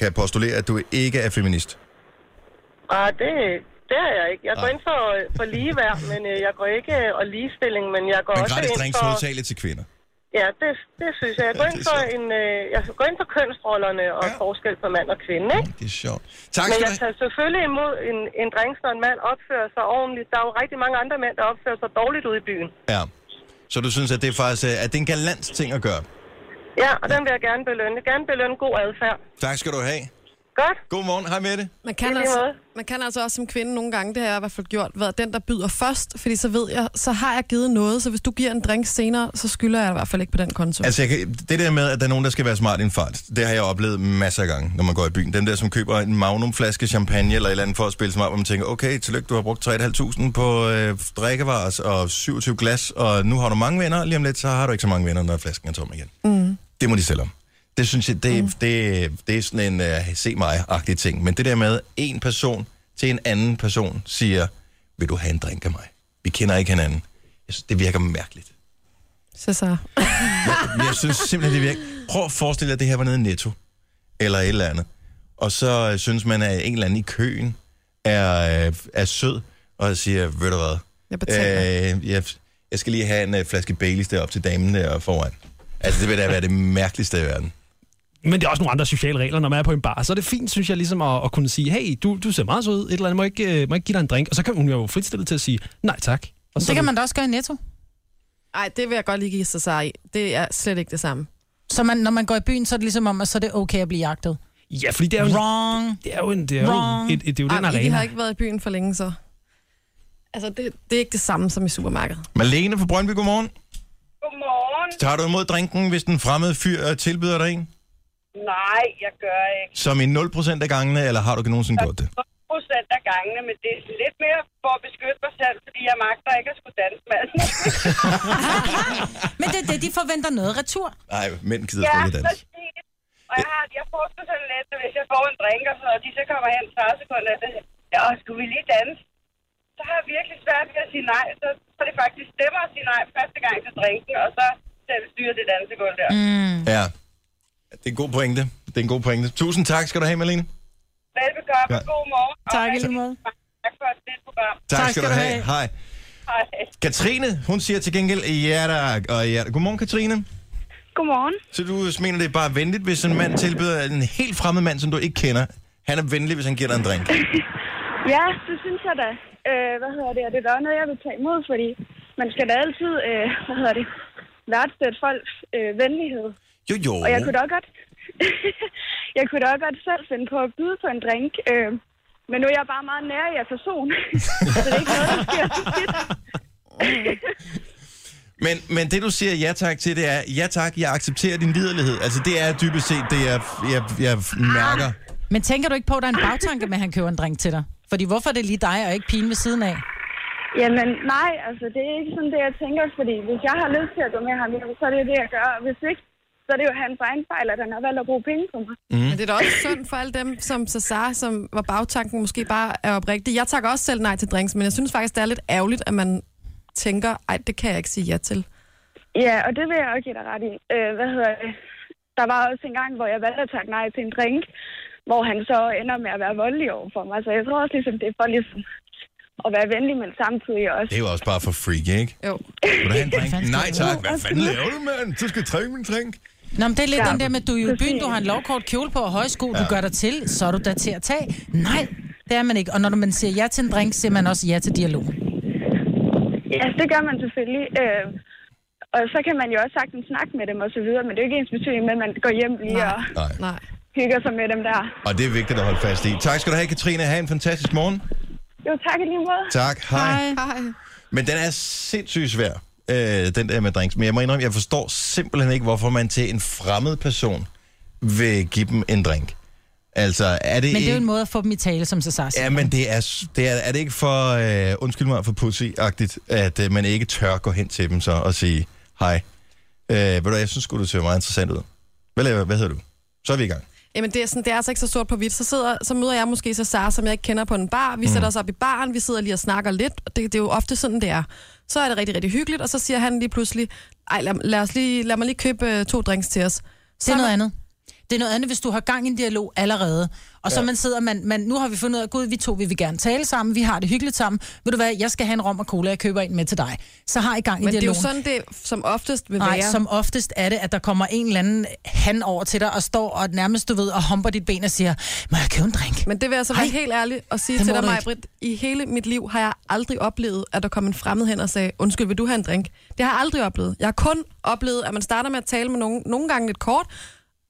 A: kan postulere, at du ikke er feminist.
J: Ah, det, det er jeg ikke. Jeg
A: Ah.
J: går ind for, for ligeværd, men øh, jeg går ikke øh, og ligestilling, men jeg går
A: Men
J: også
A: gratis
J: ind
A: drinks
J: for...
A: hovedsageligt til kvinder.
J: Ja, det, det synes jeg. Jeg går,
A: Ja,
J: ind
A: det er
J: for
A: sjovt.
J: en, øh, jeg går ind for kønsrollerne og
A: Ja. Mm,
J: ja. forskel på mand og kvinde. Ikke?
A: Det er sjovt. Tak skal
J: Men jeg
A: du have.
J: tager selvfølgelig imod en, en dreng, når en mand opfører sig ordentligt. Der er jo rigtig mange andre mænd, der opfører sig dårligt ude i byen.
A: Ja. Så du synes, at det er faktisk øh, at det er en galant ting at gøre?
J: Ja, og den vil jeg gerne belønne. Gerne belønne god adfærd.
A: Tak skal du have.
J: Godt.
A: Godmorgen. Hej med det.
B: Man
J: I
B: kan,
J: lige
B: altså,
J: måde.
B: man kan altså også som kvinde nogle gange, det har jeg i hvert fald gjort, været den, der byder først, fordi så ved jeg, så har jeg givet noget, så hvis du giver en drink senere, så skylder jeg i hvert fald ikke på den konto. Altså,
A: Altså, jeg kan, det der med, at der er nogen, der skal være smart i en fart, det har jeg oplevet masser af gange, når man går i byen. Dem der, som køber en magnumflaske champagne eller et eller andet for at spille smart, hvor man tænker, okay, tillykke, du har brugt 3.500 på øh, drikkevarer og 27 glas, og nu har du mange venner, lige om lidt, så har du ikke så mange venner, når flasken er tom igen. Mm. Det må de selv om. Det synes jeg, det, mm. det, det er sådan en øh, se mig-agtig ting. Men det der med, en person til en anden person siger, vil du have en drink af mig? Vi kender ikke hinanden. Jeg synes, det virker mærkeligt.
B: så så.
A: Men jeg synes simpelthen, det virker. Prøv at forestille dig, at det her var nede i Netto, eller et eller andet. Og så øh, synes man, at en eller anden i køen er, øh, er sød, og siger, ved du hvad,
B: Jeg betaler."
A: øh, jeg, jeg skal lige have en øh, flaske Baileys deroppe til damen der foran. Altså, det vil da være det mærkeligste i verden.
E: Men det er også nogle andre sociale regler, når man er på en bar. Så er det fint, synes jeg, ligesom at, at kunne sige, hey, du, du ser meget sød ud, et eller andet, må jeg ikke, øh, må jeg ikke give dig en drink? Og så kan hun jo fritstillet til at sige, nej tak. Og så
C: Det
E: er
C: kan man da også gøre i Netto.
B: Ej, det vil jeg godt lige give sig sig i. Det er slet ikke det samme.
C: Så man, når man går i byen, så er det ligesom om, at så er det okay at blive jagtet.
E: Ja, fordi det er jo, en-
C: Wrong.
E: det er jo, en, det er jo,
C: Wrong.
E: et, et, det er jo
B: Ej,
E: den
B: men I
E: arena.
B: har ikke været i byen for længe, så. Altså, det, det er ikke det samme som i supermarkedet.
A: Malene fra Brøndby, godmorgen.
J: Godmorgen.
A: Tager du imod drinken, hvis den fremmede fyr øh, tilbyder dig en?
J: Nej, jeg gør ikke.
A: Som i 0% af gangene, eller har du ikke nogensinde gjort det?
J: procent af gangene, men det er lidt mere for at beskytte mig selv, fordi jeg magter ikke at skulle danse med
C: Men det er det, de forventer noget retur.
A: Nej, mænd gider ja, ikke dans.
J: præcis. Og jeg, har, jeg forsker sådan lidt, at hvis jeg får en drink og sådan noget, og de så kommer hen 30 sekunder, at jeg, skulle vi lige danse? Så
I: så har jeg virkelig svært ved at sige nej. Så, så er det faktisk stemmer at sige nej første gang til drinken, og så selv styrer det dansegulv der. Mm.
A: Ja. Det er en god pointe. Det er en god pointe. Tusind tak skal du have, Malene.
I: Velbekomme,
A: Ja.
I: ja. god morgen. og
C: Tak i
I: rigtig
C: lige måde.
I: Tak for et fedt program.
A: Tak, tak skal du have. have. Hej.
I: Hej.
A: Katrine, hun siger til gengæld, ja tak, og ja. Godmorgen, Katrine.
I: Godmorgen.
A: Så du mener, det er bare venligt, hvis en mand tilbyder en helt fremmed mand, som du ikke kender. Han er venlig, hvis han giver dig en drink.
I: Ja, det synes jeg da. Øh, hvad hedder det? Og det er da også noget, jeg vil tage imod, fordi man skal da altid, øh, hvad hedder det, værdsætte folks øh, venlighed.
A: Jo, jo.
I: Og jeg kunne da også godt, jeg kunne da også godt selv finde på at byde på en drink. Øh, men nu er jeg bare meget nær i af person, så det er ikke noget, der sker så tit.
A: Men, men det, du siger ja tak til, det er, ja tak, jeg accepterer din liderlighed. Altså, det er dybest set det, jeg, jeg, jeg mærker.
I: Ah.
C: Men tænker du ikke på, at der er en bagtanke med, at han køber en drink til dig? Fordi hvorfor er det lige dig og ikke pigen ved siden af?
I: Jamen nej, altså det er ikke sådan det, jeg tænker, fordi hvis jeg har lyst til at gå med ham, jamen, så er det jo det, jeg gør. Og hvis ikke, så er det jo hans egen fejl, at han har valgt at bruge penge på mig.
C: Mm.
B: Men det er da også synd for alle dem, som Cesar, som var bagtanken, måske bare er oprigtig. Jeg takker også selv nej til drinks, men jeg synes faktisk, det er lidt ærgerligt, at man tænker, ej, det kan jeg ikke sige ja til.
I: Ja, og det vil jeg også give dig ret i. Øh, hvad hedder det? Der var også en gang, hvor jeg valgte at takke nej til en drink, hvor han så ender med at være voldelig over for mig. Så jeg tror også, ligesom, det er for ligesom at være venlig, men samtidig også.
A: Det er jo også bare for freak, ikke?
B: Jo.
A: Vil du have en drink?
C: fanden
A: Nej
C: skal
A: tak. Hvad fanden laver du, mand? Du skal drikke min drink.
C: Nå, men det er lidt
I: Ja,
C: den der med, at du er jo i byen,
I: præcis.
C: du har en lovkort kjole på og høje sko, du gør dig til, så er du da til at tage. Nej, det er man ikke. Og når man siger ja til en drink, siger man også ja til dialog.
I: Ja, det gør man selvfølgelig. Øh, og så kan man jo også sagtens snakke med dem og så videre, men det er jo ikke ens betydning med, at man går hjem lige
B: Nej.
I: og
A: Nej.
B: Nej.
I: hygger sig med dem der.
A: Og det er vigtigt at holde fast i. Tak skal du have, Katrine. Ha' en fantastisk morgen.
I: Jo, tak i lige måde.
A: Tak. Hej. Hej.
B: Hej.
A: Men den er sindssygt svær, øh, den der med drinks. Men jeg må indrømme, jeg forstår simpelthen ikke, hvorfor man til en fremmed person vil give dem en drink. Altså, er det
C: Men det er
A: ikke...
C: jo en måde at få dem i tale, som Cesar siger.
A: Ja, men det er, s- det er, er det ikke for, øh, undskyld mig, for pussy-agtigt, at øh, man ikke tør gå hen til dem så og sige, hej, øh, ved du hvad, jeg synes sgu, du ser meget interessant ud. Hvad, laver, hvad hedder du? Så er vi i gang.
B: Jamen, det er, sådan, det er altså ikke så sort på hvidt. Så, sidder, så møder jeg måske Cesar, som jeg ikke kender på en bar. Vi mm. sætter os op i baren, vi sidder lige og snakker lidt. Og det, det er jo ofte sådan, det er. Så er det rigtig, rigtig hyggeligt, og så siger han lige pludselig, ej, lad, lad, os lige, lad mig lige købe øh, to drinks til os. Så
C: Det er
B: er
C: noget
B: man-
C: andet. Det er noget andet, hvis du har gang i en dialog allerede. Og så man sidder, man, man, nu har vi fundet ud af, gud, vi to vi vil gerne tale sammen, vi har det hyggeligt sammen. Ved du hvad, jeg skal have en rom og cola, jeg køber en med til dig. Så har I gang i
B: Men det er jo
C: dialogen.
B: sådan, det som oftest vil
C: Nej,
B: være.
C: som oftest er det, at der kommer en eller anden han over til dig og står og nærmest, du ved, og humper dit ben og siger, må jeg købe en drink?
B: Men det vil jeg så være
C: Ej,
B: helt ærlig og sige
C: det må
B: til dig,
C: du
B: Maja
C: ikke.
B: Britt, i hele mit liv har jeg aldrig oplevet, at der kom en fremmed hen og sagde, undskyld, vil du have en drink? Det har jeg aldrig oplevet. Jeg har kun oplevet, at man starter med at tale med nogen, nogle gange lidt kort,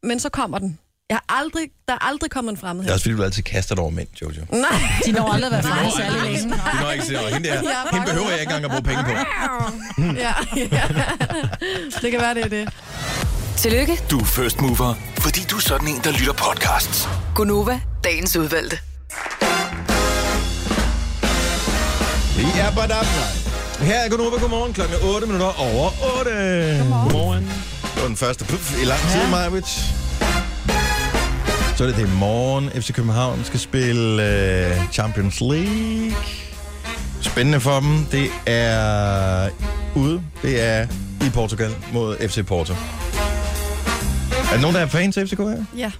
B: men så kommer den. Jeg har aldrig, der er aldrig kommet en fremmed
A: Det
B: hen.
A: er også fordi, du altid kaster dig over mænd, Jojo.
B: Nej.
C: De når aldrig at være fremme særlig længe.
A: Du når ikke sige, "Åh, hende, der,
B: Ja,
A: hende behøver jeg ikke engang at bruge penge på.
B: ja, ja. Det kan være, det er det.
G: Tillykke,
D: Du er first mover, fordi du er sådan en, der lytter podcasts.
G: Gunova, dagens udvalgte.
A: Ja, but up. Her er Gunova. Godmorgen. Klokken er 8 minutter over 8. Godmorgen. Godmorgen. Det var den første puff i lang tid, ja. Så er det det i morgen. FC København skal spille øh, Champions League. Spændende for dem. Det er ude. Det er i Portugal mod FC Porto. Er der nogen, der er fan til FCK her?
B: Ja.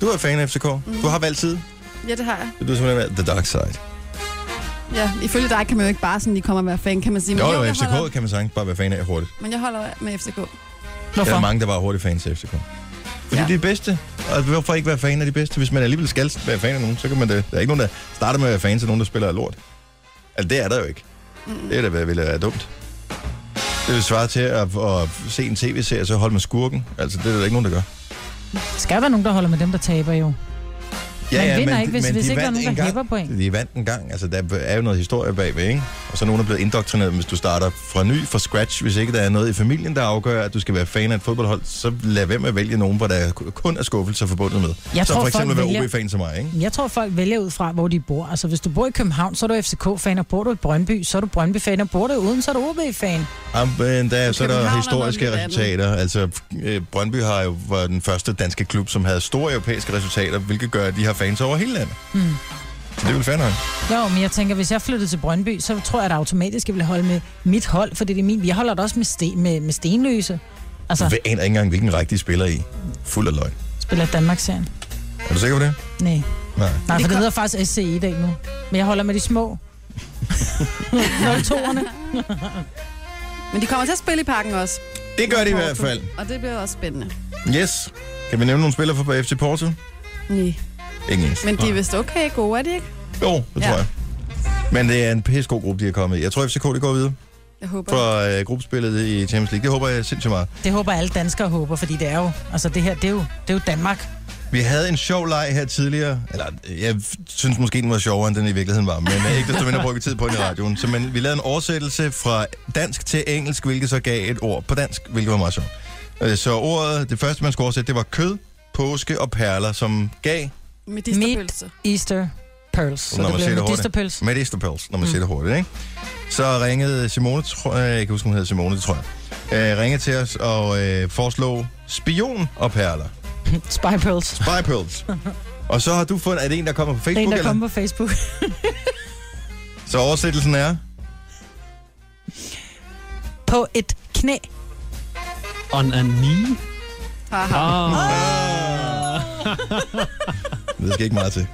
A: Du er fan af FCK. Mm. Du har valgt side.
B: ja, det har jeg.
A: Du har simpelthen valgt The Dark Side.
K: Ja, ifølge dig kan man jo ikke bare sådan lige komme og være fan, kan man sige. Men
A: Jo, jo,
K: jeg holder,
A: FCK kan man sagtens bare være fan af hurtigt.
B: Men jeg holder med FCK.
A: Der er
C: Hvorfor?
A: mange, der bare er hurtigt fans af FCK. Fordi ja.
B: Ja.
A: de er bedste. Og hvorfor ikke være fan af de bedste? Hvis man alligevel skal være fan af nogen, så kan man det. Der er ikke nogen, der starter med at være fan af nogen, der spiller af lort. Altså, det er der jo ikke. Mm. Det er da, hvad ville være dumt. Det vil svare til at, at se en tv-serie, og så holde med skurken. Altså, det er der ikke nogen, der gør.
C: Der skal være nogen, der holder med dem, der taber jo. Man vinder ikke, hvis- hvis
A: de
C: ikke der er
A: vandt
C: nogen, der
A: en gang.
C: hæpper på en.
A: De vandt en gang. Altså, der er jo noget historie bagved, ikke? Og så er nogen, der er blevet indoktrineret, hvis du starter fra ny, fra scratch. Hvis ikke der er noget i familien, der afgør, at du skal være fan af et fodboldhold, så lad være med at vælge nogen, hvor der kun er skuffelser forbundet med.
C: Jeg
A: som
C: tror,
A: for eksempel at være
C: folk vælger-
A: OB-fan som mig, ikke?
C: Jeg tror, folk vælger ud fra, hvor de bor. Altså, hvis du bor i København, så er du FCK-fan, og bor du i Brøndby, så er du Brøndby-fan, og bor du i Odense, så er du OB-fan.
A: Ja, men øh, der, er- så er der
K: København er
A: historiske
K: noget lidt
A: resultater. Altså, øh, Brøndby har jo var
C: Hmm.
A: den første danske klub, som havde store europæiske resultater, hvilket gør, at de har fans over hele landet. Mm. Så det er vel fair nok.
C: Nå, men jeg tænker, hvis jeg flyttede til Brøndby, så tror jeg da automatisk, jeg ville holde med mit hold, fordi det er min. Jeg holder da også med, sten, med, med stenløse.
A: Altså.
C: Altså,
A: Jeg aner ikke engang, hvilken række de spiller i. Fuld af løgn.
C: spiller Danmark-serien.
A: Er du sikker på det?
C: Nej.
A: Nej.
C: Nej, for det hedder faktisk SCE i dag nu. Men jeg holder med de små. 02'erne.
B: Men de kommer til at spille i parken også.
A: Det gør de i hvert fald.
B: Og det bliver også spændende.
A: Yes. Kan vi nævne nogle spillere fra FC Porto?
B: Nej.
A: Ingen eneste.
B: Men de er vist okay gode, er de ikke?
A: Jo, det ja.
B: Ja.
A: tror jeg. Men det er en pissegod gruppe, de er kommet i. Jeg tror, FCK de går videre
B: Jeg håber.
A: fra øh, gruppespillet i Champions League. Det håber jeg sindssygt meget.
C: Det håber alle danskere håber, fordi det er jo... Altså, det her, det er jo, det er jo Danmark.
A: Vi havde en sjov leg her tidligere. Eller, øh, jeg synes måske, den var sjovere, end den i virkeligheden var. Men øh, ikke desto mindre brugte vi tid på den i radioen. Så men, vi lavede en oversættelse fra dansk til engelsk, hvilket så gav et ord på dansk, hvilket var meget sjovt. Øh, Så ordet, det første, man skulle oversætte, det var kød, påske og perler, som gav
C: Medisterpølse. Easter pearls. Så
A: når
C: det
A: man ser
C: bliver
A: det
C: medisterpølse.
A: hurtigt. Medisterpøls, når man mm. ser det hurtigt, ikke? Så ringede Simone, tror, øh, jeg kan huske, hun hedder Simone, det tror jeg, øh, ringede til os og øh, foreslog spion og perler. Mm.
C: Spy pearls.
A: Spy pearls. og så har du fundet, er det en, der kommer på
C: Det er
A: Facebook?
C: en, der
A: eller?
C: kommer på Facebook.
A: Så oversættelsen er?
C: på et knæ.
E: On a knee. Ah.
B: Haha.
A: Det skal ikke meget til.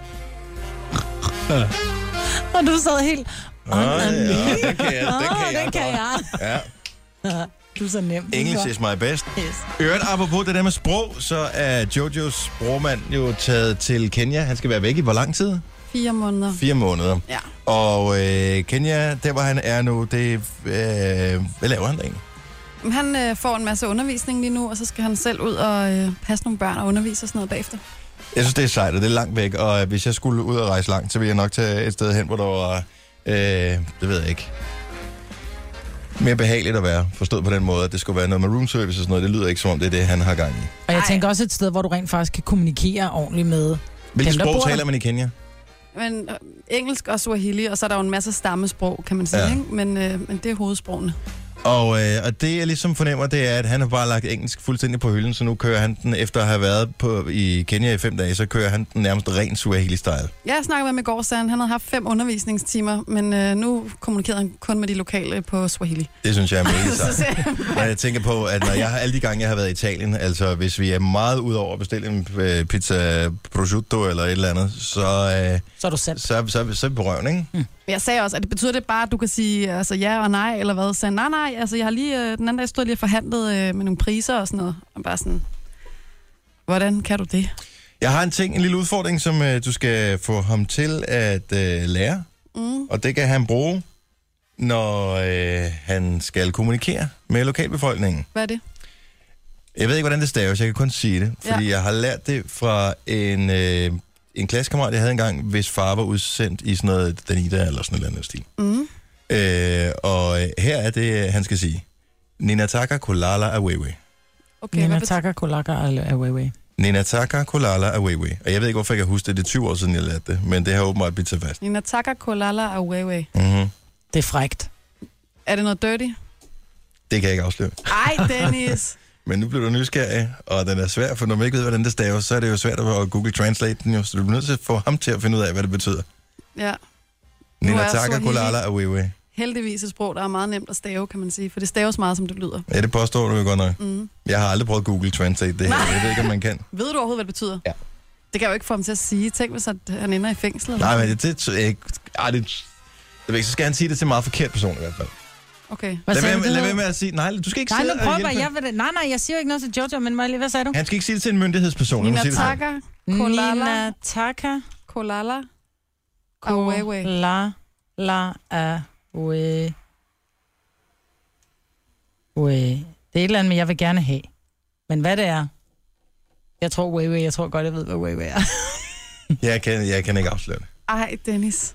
C: Og du sad helt...
A: Åh, ja, den kan jeg, den
C: Åh,
A: kan jeg.
C: den kan jeg.
A: Ja,
C: Du er så nem.
A: English is my best.
C: Yes.
A: Øvrigt, apropos det der med sprog, så er Jojos brormand jo taget til Kenya. Han skal være væk i hvor lang tid?
B: Fire måneder.
A: Fire måneder.
B: Ja.
A: Og øh, Kenya, der hvor han er nu, det... Øh, hvad laver han der egentlig?
B: Men Han øh, får en masse undervisning lige nu, og så skal han selv ud og øh, passe nogle børn og undervise og sådan noget bagefter.
A: Jeg synes, det er sejt, og det er langt væk, og øh, hvis jeg skulle ud og rejse langt, så ville jeg nok tage et sted hen, hvor der var... Øh, det ved jeg ikke. Mere behageligt at være, forstået på den måde, at det skulle være noget med room service og sådan noget. Det lyder ikke som om, det er det, han har gang i.
C: Og jeg tænker også et sted, hvor du rent faktisk kan kommunikere ordentligt med
A: Hvilket
C: dem, der bor
A: sprog
C: der.
A: taler man i Kenya?
B: Men øh, engelsk og swahili, og så er der jo en masse stammesprog, kan man sige,
A: Ja.
B: ja. ikke? Men, øh, men det er hovedsprogene.
A: Og, øh, og det, jeg ligesom fornemmer, det er, at han har bare lagt engelsk fuldstændig på hylden, så nu kører han den, efter at have været på, i Kenya i fem dage, så kører han den nærmest ren Swahili-style.
B: Jeg snakkede med ham i går, så han, han havde haft fem undervisningstimer, men øh, nu kommunikerede han kun med de lokale på swahili.
A: Det synes jeg er mega
B: Så
A: sejt.
B: sagde han,
A: Og jeg tænker på, at når jeg, alle de gange, jeg har været i Italien, altså hvis vi er meget ud over at bestille en øh, pizza prosciutto eller et eller andet, så, øh,
C: Så er du selv.
A: så, så, så er vi på røven, ikke?
B: Men Jeg sagde også, at det betyder det bare, at du kan sige altså, ja og nej, eller hvad? Så sagde han, nej, nej, altså jeg har lige, øh, den anden dag stod jeg lige og forhandlede øh, med nogle priser og sådan noget. Og bare sådan, hvordan kan du det?
A: Jeg har en ting, en lille udfordring, som øh, du skal få ham til at øh, lære,
B: Mm.
A: og det kan han bruge, når øh, han skal kommunikere med lokalbefolkningen.
B: Hvad er det?
A: Jeg ved ikke, hvordan det staves, jeg kan kun sige det, fordi ja. jeg har lært det fra en, øh, en klassekammerat, jeg havde engang, hvis far var udsendt i sådan noget Danida eller sådan et eller andet stil.
B: Mm.
A: Øh, og øh, her er det, øh, han skal sige. Ninataka kolala awewe.
B: Okay,
C: Nina
B: hvad betyder
C: takker kolaka away.
A: Ninataka kolala awewe. Og jeg ved ikke, hvorfor jeg kan huske det. Det er 20 år siden, jeg lærte det. Men det har åbenbart blivet så fast.
B: Nina Taka Kolala Awewe.
A: Mm-hmm.
C: Det er frægt.
B: Er det noget dirty?
A: Det kan jeg ikke afsløre.
B: Ej, Dennis.
A: Men nu bliver du nysgerrig, og den er svær, for når man ikke ved, hvordan det staves, så er det jo svært at Google Translate den jo. Så du bliver nødt til at få ham til at finde ud af, hvad det betyder.
B: ja. Nu er
A: Ninataka
B: Swahili.
A: kolala awewe.
B: Heldigvis et sprog, der er meget nemt at stave, kan man sige. For det staves meget, som det lyder.
A: Ja, det påstår du jo godt nok.
B: Mm.
A: Jeg har aldrig prøvet Google Translate det her. Jeg ved ikke, om man kan.
B: Ved du overhovedet, hvad det betyder?
A: Ja.
B: Det kan jeg jo ikke få ham til at sige. Tænk, hvis at han ender i fængsel. Eller?
A: Nej, men det, det, det, det, det, det, det, så skal han sige det til en meget forkert person i hvert fald.
B: Okay.
C: Hvad
A: Lad
C: sagde
A: være,
C: du,
A: med,
C: det
A: lad
C: hed?
A: være med at sige, nej, du skal ikke
C: Nej,
A: sidde
C: nu
A: og
C: prøver
A: hjælpe.
C: jeg. Ved det. Nej, nej, jeg siger jo ikke noget til Jojo, men Molly, hvad sagde du?
A: Han skal ikke sige det til en myndighedsperson. lad mig
B: Nina
A: sige det sådan.
B: Taka
C: Nina
B: Kolala
C: Taka
B: Kolala
C: Ah,
B: Awewe.
C: Kola La Awe Ue. Det er et eller andet, men jeg vil gerne have. Men hvad det er? Jeg tror Weiwei, jeg tror godt, jeg ved, hvad Weiwei er.
A: Jeg kan, jeg kan ikke afsløre det.
B: Ej, Dennis.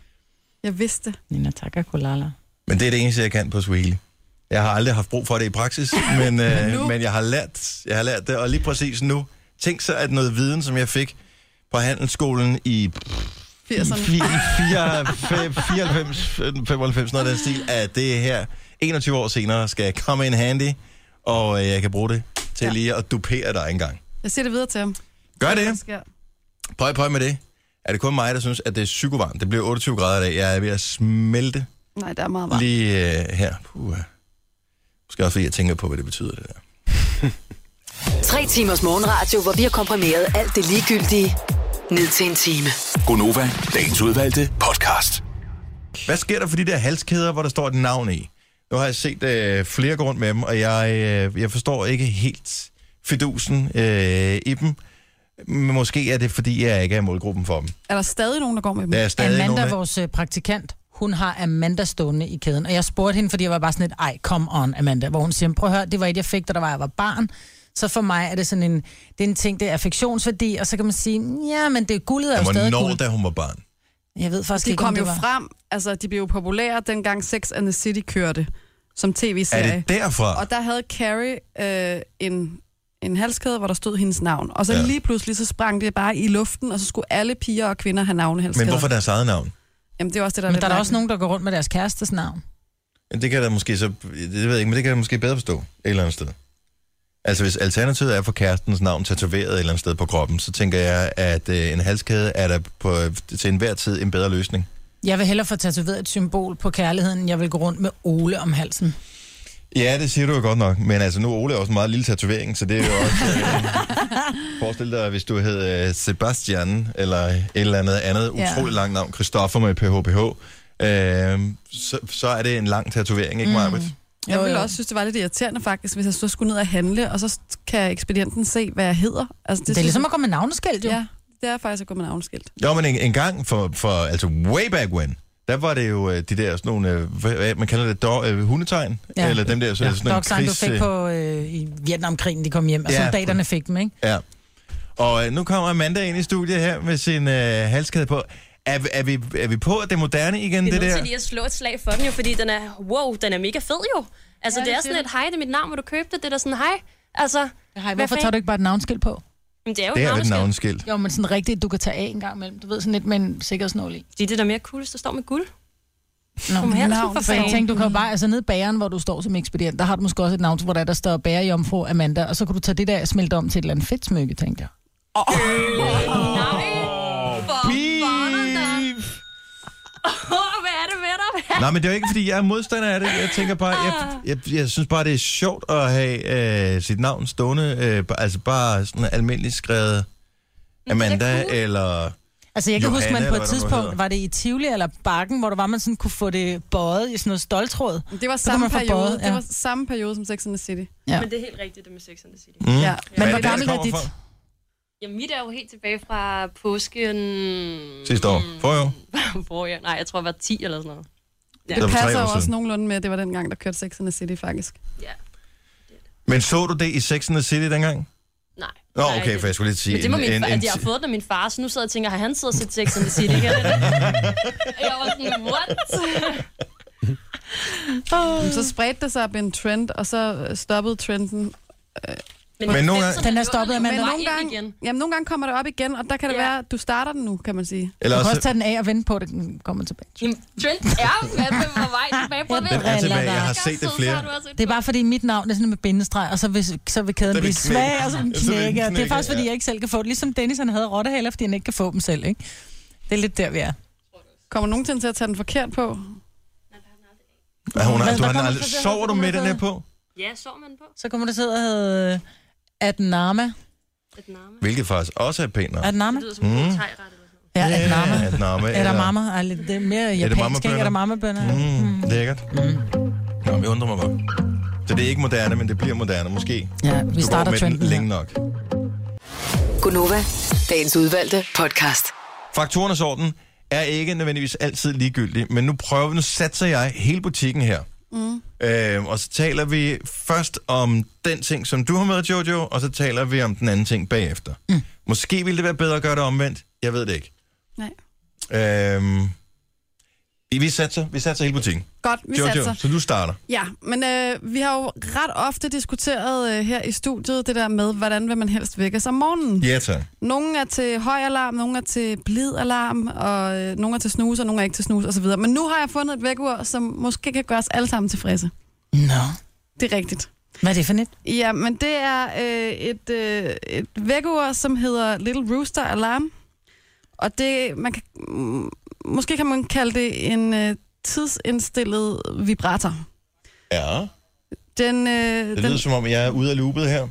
B: Jeg vidste. det.
C: Nina Taka Kolala.
A: Men det er det eneste, jeg kan på Swahili. Jeg har aldrig haft brug for det i praksis, men, øh,
B: nu-
A: men jeg, har lært, jeg har lært det. Og lige præcis nu, tænk så, at noget viden, som jeg fik på handelsskolen i
B: 80'erne.
A: 94-95, noget af den stil, at det her 21 år senere skal komme in handy, og øh, jeg kan bruge det til lige at dupere dig engang.
B: Jeg siger det videre til ham.
A: Gør
B: Hvad der
A: det.
B: sker.
A: Pøj, pøj med det. Er det kun mig, der synes, at det er psykovarmt? Det bliver 28 grader i dag. Jeg er ved at smelte
B: Nej, der er meget varmt.
A: lige øh, her. Puh. Måske også fordi jeg tænker på, hvad det betyder, det der.
G: Tre timers morgenradio, hvor vi har komprimeret alt det ligegyldige ned til en time.
L: Gonova, dagens udvalgte podcast.
A: Hvad sker der for de der halskæder, hvor der står et navn i? Nu har jeg set øh, flere gå rundt med dem, og jeg, øh, jeg forstår ikke helt fidusen øh, i dem. Men måske er det, fordi jeg ikke er i målgruppen for dem.
B: Er der stadig nogen, der går med dem?
A: Der er stadig
C: Amanda,
A: nogen, der-
C: vores øh, praktikant, hun har Amanda stående i kæden. Og jeg spurgte hende, fordi jeg var bare sådan et, ej, come on, Amanda. Hvor hun siger, prøv at høre, det var et, jeg fik, da der var, jeg var barn. Så for mig er det sådan en, det er en ting, det er affektionsværdi, og så kan man sige, ja, men det guldet er jo stadig
A: Hvornår,
C: guld.
A: da hun var barn?
C: Jeg ved faktisk
B: De
C: ikke, om
B: kom
C: det
B: jo
C: var.
B: frem, altså de blev jo populære, dengang Sex and the City kørte som tv-serie.
A: Er det derfra?
B: Og der havde Carrie øh, en, en halskæde, hvor der stod hendes navn. Og så
A: Ja.
B: ja. lige pludselig, så sprang det bare i luften, og så skulle alle piger og kvinder have navnehalskæder.
A: Men hvorfor deres eget navn?
B: Jamen, det er også det, der
C: Men
B: lidt
C: der er der
B: mærkeligt.
C: også nogen, der går rundt med deres kærestes navn.
A: Jamen, Det kan jeg da måske så... Det ved jeg ikke, men det kan jeg da måske bedre forstå et eller andet sted. Altså, hvis alternativet er for kærestens navn tatoveret et eller andet sted på kroppen, så tænker jeg, at øh, en halskæde er der på, til enhver tid en bedre løsning.
C: Jeg vil hellere få tatoveret et symbol på kærligheden, end jeg vil gå rundt med Ole om halsen.
A: Ja, det siger du jo godt nok, men altså nu er Ole også en meget lille tatovering, så det er jo også... Øh, forestil dig, hvis du hed øh, Sebastian, eller et eller andet andet
B: Ja.
A: ja. utroligt langt navn, Christoffer med PHPH, øh, så, så er det en lang tatovering, ikke, Marvitt? Mm.
B: Jeg
C: Jo,
B: ville
C: jo.
B: også synes, det var lidt irriterende faktisk, hvis jeg så skulle ned og handle, og så kan ekspedienten se, hvad jeg hedder. Altså,
C: Det, det er
B: synes
C: ligesom
B: jeg-
C: at gå med navneskilt, jo. Ja.
B: Ja, det er faktisk at gå med navneskilt.
A: Jo, men en, en gang for, for, altså way back when, der var det jo øh, de der sådan nogle, øh, hvad, hvad- man kalder det, dog, øh, hundetegn, ja.
C: Ja.
A: eller dem der, så, ja. sådan nogle
C: Dog sang, du
A: krigs, øh,
C: fik på øh, i Vietnamkrigen, de kom hjem, og
A: Ja.
C: soldaterne fik dem, ikke?
A: Ja. Og øh, nu kommer Amanda ind i studiet her med sin øh, halskæde på. Er, vi- er, vi, er vi på det moderne igen,
H: Vi er
A: det,
H: nødt
A: der?
H: til lige at slå et slag for den jo, fordi den er, wow, den er mega fed jo. Altså, ja, det, er sådan et, hej, det er mit navn, hvor du købte det, det er da sådan, hej. Altså,
C: Hej, hvorfor
H: fanden?
C: tager du ikke bare et navnskilt på?
H: men det er jo
A: Det er jo et
H: navneskilt.
A: navnskilt.
C: Jo, men sådan rigtigt, du kan tage af en gang imellem. Du ved sådan lidt med en sikkerhedsnål i.
H: Det er det, der er mere cool, hvis der står med guld.
C: Nå,
H: Kom her, for
C: for jeg
H: fanden.
C: tænkte, du kan jo bare, altså nede i bageren, hvor du står som ekspedient, der har du måske også et navn, hvor der, er, der står bager jomfru Amanda, og så kan du tage det der og smelte om til et eller andet fedt smykke, tænkte jeg.
H: Nej, for fanden da. Åh, hvad er det med dig? Ah. Hvad?
A: Nej, men det er jo ikke, fordi jeg er modstander af det. Jeg tænker bare, jeg, jeg, jeg synes bare, det er sjovt at have øh, sit navn stående, øh, ba- altså bare sådan almindeligt skrevet Amanda,
H: cool.
A: eller...
C: Altså jeg kan
A: Johanna,
C: huske, man
A: eller hvad det
C: på et
A: nu hedder.
C: tidspunkt, var det i Tivoli eller Bakken, hvor der var, man sådan kunne få det bøjet i sådan noget stoltråd.
B: Men Det var
C: kan
B: samme
C: man få
B: periode,
C: både,
B: det
C: ja.
B: var samme periode som Sex and the City.
C: Ja.
H: Men det er helt rigtigt, det med Sex and the City.
A: Mm.
B: Ja.
A: Hvad
C: Men
A: er
C: hvor
A: det, der
C: gammel er
A: kommer
C: dit?
A: fra?
H: Jamen, mit er jo helt tilbage fra påsken...
A: Sidste år. Forrige år.
H: Hvor jeg, nej, jeg tror, jeg var 10 eller sådan noget. Ja.
A: Det
B: Det
A: var tre
B: passer
A: år
B: jo også
A: siden.
B: nogenlunde med, at det var dengang, der kørte Sex and the City faktisk.
H: Ja.
A: Men så du det i Sex and the City dengang?
H: Nej.
A: Nå,
H: nej,
A: okay,
H: det-
A: for jeg skulle lige sige...
H: Men det må min far, at jeg har
A: ti-
H: fået den af min far, så nu sidder jeg og tænker, har han siddet og set Sex and the City? Kan det? jeg var sådan, what?
B: Men Så spredte det sig op i en trend, og så øh, stoppede trenden.
A: Men
H: det
A: nogle gange-
H: fedt, sådan,
C: Den er
H: at
C: stoppet,
H: den
C: men
H: er
C: nogle
H: på vej ind
B: gange-
H: igen.
B: Jamen, nogle gange kommer det op igen, og der kan det
H: Ja.
B: være, at du starter den nu, kan man sige.
A: Eller
C: Du kan
A: også,
C: også tage den af og vente på, at den kommer tilbage.
H: Jamen, Trend er fandme på vej tilbage. Prøv at
A: den
H: vente.
A: er
C: Eller
A: tilbage.
C: der.
A: Jeg har set det flere.
C: Det er bare fordi mit navn er sådan med bindestreg, og så vil, så vil kæden
A: vil
C: blive
A: knække.
C: svag, og så vil den
A: Så vil den
C: knække. Det er
A: knække,
C: faktisk fordi,
A: ja.
C: jeg ikke selv kan få det. Ligesom Dennis, han havde rottehaler, fordi han ikke kan få dem selv, ikke? Det er lidt der, vi er.
B: Kommer nogen til at tage den forkert på?
A: Ja, hun har,
C: Hvad-
A: du
C: hvad
A: har
C: kommer
A: aldrig,
C: der til at
A: sover du
C: hedde?
A: med den her på?
H: Ja, så man på
C: Så kommer der sidde og hedde Adnama.
H: et name.
A: Hvilket faktisk også er pænt navn.
C: Adnama?
H: Det lyder som en
A: Mm.
H: mm. tegret.
C: Ja, Adnama.
A: At namme,
C: Er der mamma? Ej, lidt- det er mere japansk,
A: mamma-bønner?
C: ikke? Er der mamma-bønner?
A: Mm, lækkert. Nå, jeg undrer mig bare. Så det er ikke moderne, men det bliver moderne måske.
C: Ja, vi
A: Du Mm. går
C: starter
A: med den
C: trenden
A: længe
C: her.
A: nok.
G: Gunova, dagens udvalgte podcast.
A: Faktorernes orden er ikke nødvendigvis altid ligegyldig, men nu prøver vi, nu satser jeg hele butikken her. Mm. Øhm, og så taler vi først om den ting, som du har med, Jojo, og så taler vi om den anden ting bagefter. Mm. Måske ville det være bedre at gøre det omvendt. Jeg ved det ikke.
B: Nej.
A: Øhm, vi, vi, satser, vi satser hele butikken.
B: Godt, vi
A: Jojo,
B: satser.
A: så du starter.
B: Ja, men øh, vi har jo ret ofte diskuteret øh, her i studiet det der med, hvordan vil man helst vækkes om morgenen.
A: Ja, tak.
B: Nogle er til høj alarm, nogle er til blid alarm, og øh, nogle er til snus, og nogle er ikke til snus osv. Men nu har jeg fundet et vækkeur, som måske kan gøre os alle sammen tilfredse.
C: Nå.
B: Det er rigtigt.
C: Hvad er det for net?
B: Ja, men det er øh, et, øh, et vækkeur, som hedder Little Rooster Alarm. Og det, man kan, mm, måske kan man kalde det en øh, tidsindstillet vibrator.
A: Ja.
B: Den, øh,
A: Det
B: den,
A: lyder som om, jeg er ude af loopet her.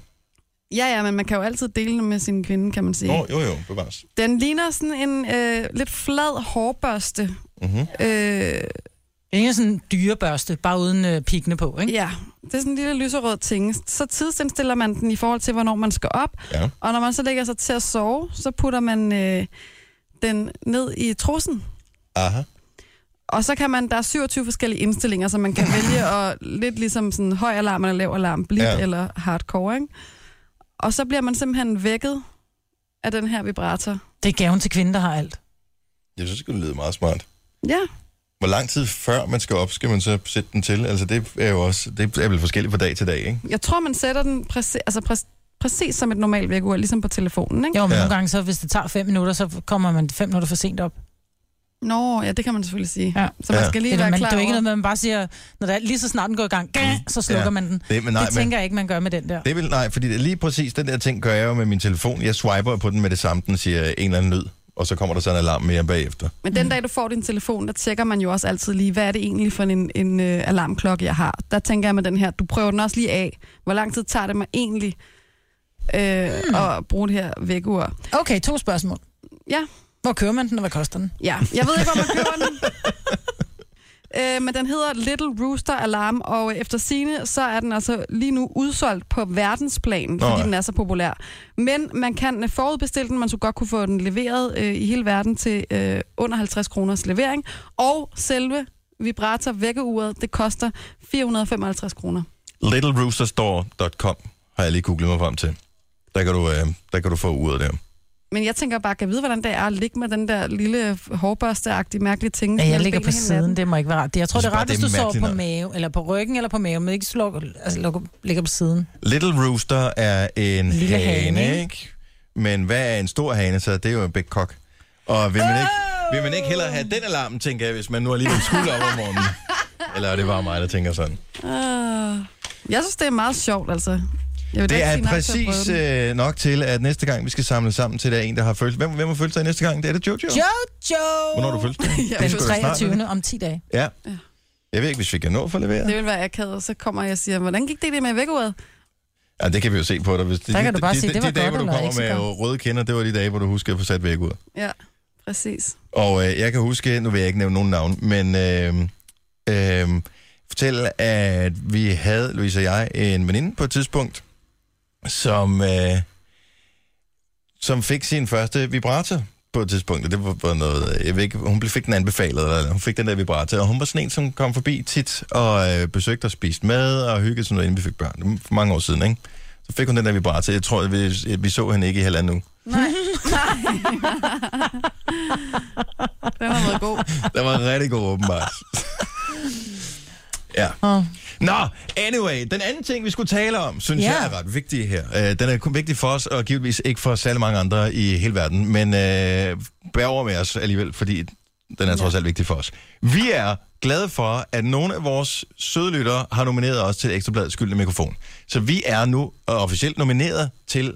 B: ja, ja, men man kan jo altid dele den med sin kvinde, kan man sige.
A: Nå, jo, jo, bevares.
B: Den ligner sådan en øh, lidt flad hårbørste.
A: Mm-hmm.
B: Øh,
C: Det er sådan en dyrebørste, bare uden øh, pikkene på, ikke?
B: ja, det er sådan en lille lyserød ting. Så tidsindstiller man den i forhold til, hvornår man skal op.
A: Ja.
B: Og når man så lægger sig til at sove, så putter man øh, den ned i trussen.
A: Aha.
B: Og så kan man, der er 27 forskellige indstillinger, så man kan vælge at lidt ligesom sådan høj alarm eller lav alarm, blidt
A: Ja.
B: ja. eller hardcore, ikke? Og så bliver man simpelthen vækket af den her vibrator.
C: Det er gaven til kvinden, der har alt.
A: Jeg synes, det lyder meget smart.
B: Ja.
A: Hvor lang tid før man skal op, skal man så sætte den til? Altså, det er jo også, det er vel forskelligt fra dag til dag, ikke?
B: Jeg tror, man sætter den præcis, altså præ- præcis som et normalt vækkeur, ligesom på telefonen, ikke?
C: Jo, men
A: Ja.
C: ja. nogle gange, så hvis det tager fem minutter, så kommer man fem minutter for sent op.
B: Nå, ja, det kan man selvfølgelig sige.
C: Ja.
B: Så man
A: Ja.
B: skal lige
C: Det, er,
B: være
C: man, det
B: klar
C: er jo ikke
B: over-
C: noget, med, man bare siger, når det er, lige så snart den går i gang, gah, så slukker
A: Mm. Ja.
C: ja. man den.
A: Det, men
C: Nej,
A: nej,
C: det
A: men,
C: tænker jeg ikke, man gør med den der.
A: det vil, nej, fordi det- lige præcis den der ting gør jeg jo med min telefon. Jeg swiper på den med det samme, den siger en eller anden lyd, og så kommer der så en alarm mere bagefter.
B: Men den dag, du får din telefon, der tjekker man jo også altid lige, hvad er det egentlig for en, en øh, alarmklokke, jeg har. Der tænker jeg med den her, du prøver den også lige af. Hvor lang tid tager det mig egentlig øh, mm.
A: Hmm.
B: at bruge det her vækkeur?
C: Okay, to spørgsmål.
B: Ja.
C: Hvor kører man den, og hvad koster den?
B: Ja, jeg ved ikke, hvor man køber den. Øh, men den hedder Little Rooster Alarm, og efter sine så er den altså lige nu udsolgt på verdensplan,
A: Nå,
B: fordi
A: ja.
B: den er så populær. Men man kan øh, forudbestille den, man skulle godt kunne få den leveret øh, i hele verden til øh, under 50 kroners levering, og selve vibrator vækkeuret, det koster 455 kroner.
A: LittleRoosterStore.com har jeg lige googlet mig frem til. Der kan du, øh, der kan du få uret der.
B: Men jeg tænker bare, kan jeg vide, hvordan det er at ligge med den der lille hårbørsteagtige mærkelige ting?
C: Ja, jeg
B: mellem
C: ligger på
B: benene hele natten?
C: siden, det må ikke være rart. Det- Jeg tror,
A: Jeg
C: det
A: synes
C: er
A: bare, det
C: rart, hvis
A: er
C: du sover
A: mærkeligt
C: på
A: noget.
C: mave, eller på ryggen, eller på maven, men ikke slår, altså, lukker, ligger på siden.
A: Little Rooster er en
C: Lille
A: hane,
C: hane,
A: hane, ikke? Men hvad er en stor hane, så det er jo en big cock. Og vil man, ikke,
C: Oh!
A: vil man ikke hellere have den alarm, tænker jeg, hvis man nu alligevel skulle op om morgenen? Eller er det bare mig, der tænker sådan?
B: Uh, jeg synes, det er meget sjovt, altså. Jeg vil da
A: Det
B: ikke
A: er
B: sige nej til at prøve
A: præcis
B: den.
A: øh, nok til, at næste gang, vi skal samle sammen til, der er en, der har følt. Hvem, hvem har følt sig næste gang? Det er det Jojo.
C: Jojo!
A: Hvornår har du følt
B: Jeg
A: er
C: Den
A: sgu da snart, ikke?
C: 23. om 10 dage.
A: Ja. Jeg ved ikke, hvis vi kan nå for at
B: Det
A: levere.
B: vil være akavet, og så kommer jeg og siger, hvordan gik det det med vækkeuret?
A: Ja, det kan vi jo se på dig. Hvis de,
C: Der kan du bare
A: de,
C: sige,
A: de,
C: det
A: de,
C: var
A: de dage, hvor
C: godt,
A: du
C: eller
A: kommer
C: ikke så
A: med
C: godt.
A: røde kender, det var de dage, hvor du husker at få sat væk ud.
B: Ja, præcis.
A: Og øh, jeg kan huske, nu vil jeg ikke nævne nogen navn, men øh, øh, fortæl, at vi havde, Louise og jeg, en veninde på et tidspunkt, som, øh, som fik sin første vibrator på et tidspunkt, og det var, var noget, øh, jeg ved ikke, hun blev- fik den anbefalet, eller hun fik den der vibrator, og hun var sådan en, som kom forbi tit, og øh, besøgte og spiste med, og hyggede sådan noget, inden vi fik børn, Det var for mange år siden, ikke? Så fik hun den der vibrator, jeg tror, vi, vi så hende ikke i halvanden uge.
B: Nej. Den har været god.
A: Den var rigtig god, åbenbart. ja.
C: Åh.
A: Nå, anyway, den anden ting, vi skulle tale om, synes
C: Ja.
A: jeg er ret vigtig her. Øh, den er kun vigtig for os, og givetvis ikke for særlig mange andre i hele verden, men øh, bær over med os alligevel, fordi den er trods alt vigtig for os. Vi er glade for, at nogle af vores søde lyttere har nomineret os til Ekstrabladets Gyldne Mikrofon. Så vi er nu officielt nomineret til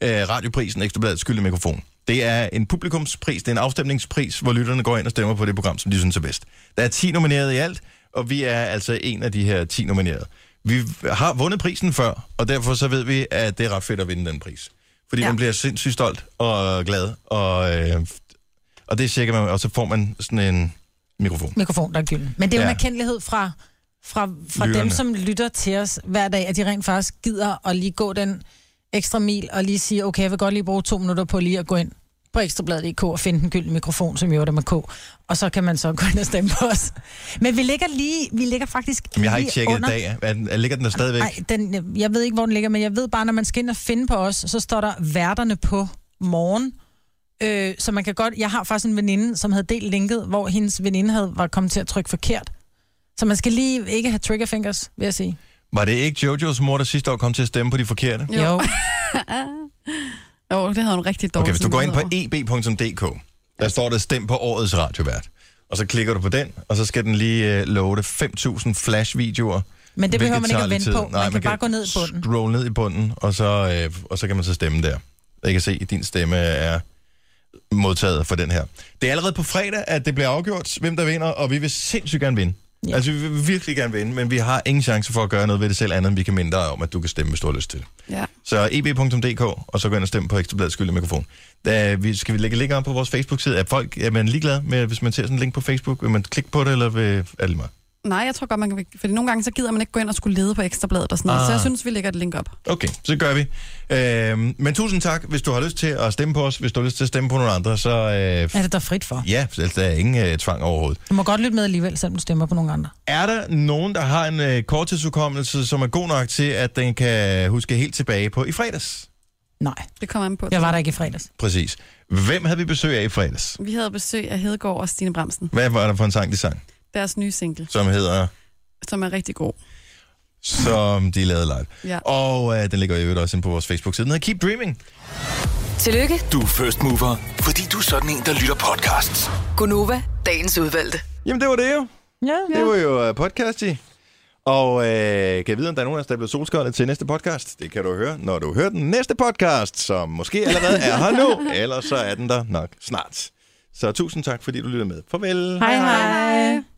A: øh, radioprisen Ekstrabladets Gyldne Mikrofon. Det er en publikumspris, det er en afstemningspris, hvor lytterne går ind og stemmer på det program, som de synes er bedst. Der er 10 nominerede i alt, og vi er altså en af de her 10 nominerede. Vi har vundet prisen før, og derfor så ved vi, at det er ret fedt at vinde den pris. Fordi ja.
B: Ja.
A: man bliver sindssygt stolt og glad, og, øh, og det tjekker man, og så får man sådan en mikrofon.
C: Mikrofon, der er gylden. Men det er jo
A: Ja.
C: en erkendelighed fra, fra, fra
A: Lytterne.
C: dem, som lytter til os hver dag, at de rent faktisk gider at lige gå den ekstra mil og lige sige, okay, jeg vil godt lige bruge to minutter på lige at gå ind på ekstrabladet.dk og finde den gyldne mikrofon, som gjorde det med K. Og så kan man så gå ind og stemme på os. Men vi ligger lige, vi ligger faktisk
A: Men jeg har
C: lige
A: ikke tjekket i
C: under.
A: dag. Er den- Ligger den der stadigvæk?
C: Nej, den, jeg ved ikke, hvor den ligger, men jeg ved bare, når man skal ind og finde på os, så står der værterne på morgen. Øh, så man kan godt... Jeg har faktisk en veninde, som havde delt linket, hvor hendes veninde havde, var kommet til at trykke forkert. Så man skal lige ikke have triggerfingers, vil jeg sige.
A: Var det ikke Jojos mor, der sidste år kom til at stemme på de forkerte?
B: Jo.
C: Jo.
B: Jo, det havde hun rigtig dårligt.
A: Okay, hvis du går ind på eb.dk, der står der stem på årets radiovært. Og så klikker du på den, og så skal den lige øh, love det 5.000 flashvideoer.
C: Men det behøver man ikke at
A: Hvilket
C: vente
A: tager
C: på.
A: lidt tid.
C: Man,
A: Nej,
C: kan,
A: man kan
C: bare gå ned i bunden.
A: Scroll ned i bunden, og så, øh, og så kan man så stemme der. Jeg kan se, at din stemme er modtaget for den her. Det er allerede på fredag, at det bliver afgjort, hvem der vinder, og vi vil sindssygt gerne vinde. Ja. Altså, vi vil virkelig gerne vinde, men vi har ingen chance for at gøre noget ved det selv, andet end vi kan minde dig om, at du kan stemme, hvis du har lyst til det.
K: Ja.
A: Så eb.dk, og så gå ind og stemme på Ekstrabladets skyldige mikrofon. Da vi, skal vi lægge link op på vores Facebook-side? Er, folk, er man ligeglad med, hvis man ser sådan en link på Facebook? Vil man klikke på det, eller vil, er det mig?
K: Nej, jeg tror godt, man kan... Fordi nogle gange, så gider man ikke gå ind og skulle lede på ekstrabladet og sådan noget.
A: Ah.
K: Så jeg synes, vi lægger et link op.
A: Okay, så gør vi. Øhm, men tusind tak, hvis du har lyst til at stemme på os. Hvis du har lyst til at stemme på nogle andre, så... Øh,
C: Er det der frit for?
A: ja, så der er ingen øh, tvang overhovedet.
C: Du må godt lytte med alligevel, selvom du stemmer på nogle andre.
A: Er der nogen, der har en øh, korttidsudkommelse, som er god nok til, at den kan huske helt tilbage på i fredags?
C: Nej.
K: Det kommer an på.
C: Jeg var der ikke i fredags.
A: Præcis. Hvem havde vi besøg af i fredags?
K: Vi havde besøg af Hedegaard og Stine Bramsen.
A: Hvad var der for en sang, de sang,
K: Deres nye single,
A: som hedder
K: som er rigtig god.
A: Som de lavede live?
K: Ja.
A: Og øh, den ligger i øvrigt også inde på vores Facebook-side. Den hedder Keep Dreaming.
G: Tillykke,
D: Du er first mover, fordi du er sådan en, der lytter podcasts.
G: Gunova, dagens udvalgte.
A: Jamen, det var det jo.
C: Ja.
A: Det var jo øh, podcast i. Og øh, kan jeg vide, om der er nogen af os, der er blevet solskåret til næste podcast? Det kan du høre, når du hører den næste podcast, som måske allerede er her nu, eller så er den der nok snart. Så tusind tak, fordi du lytter med. Farvel.
C: Hej hej.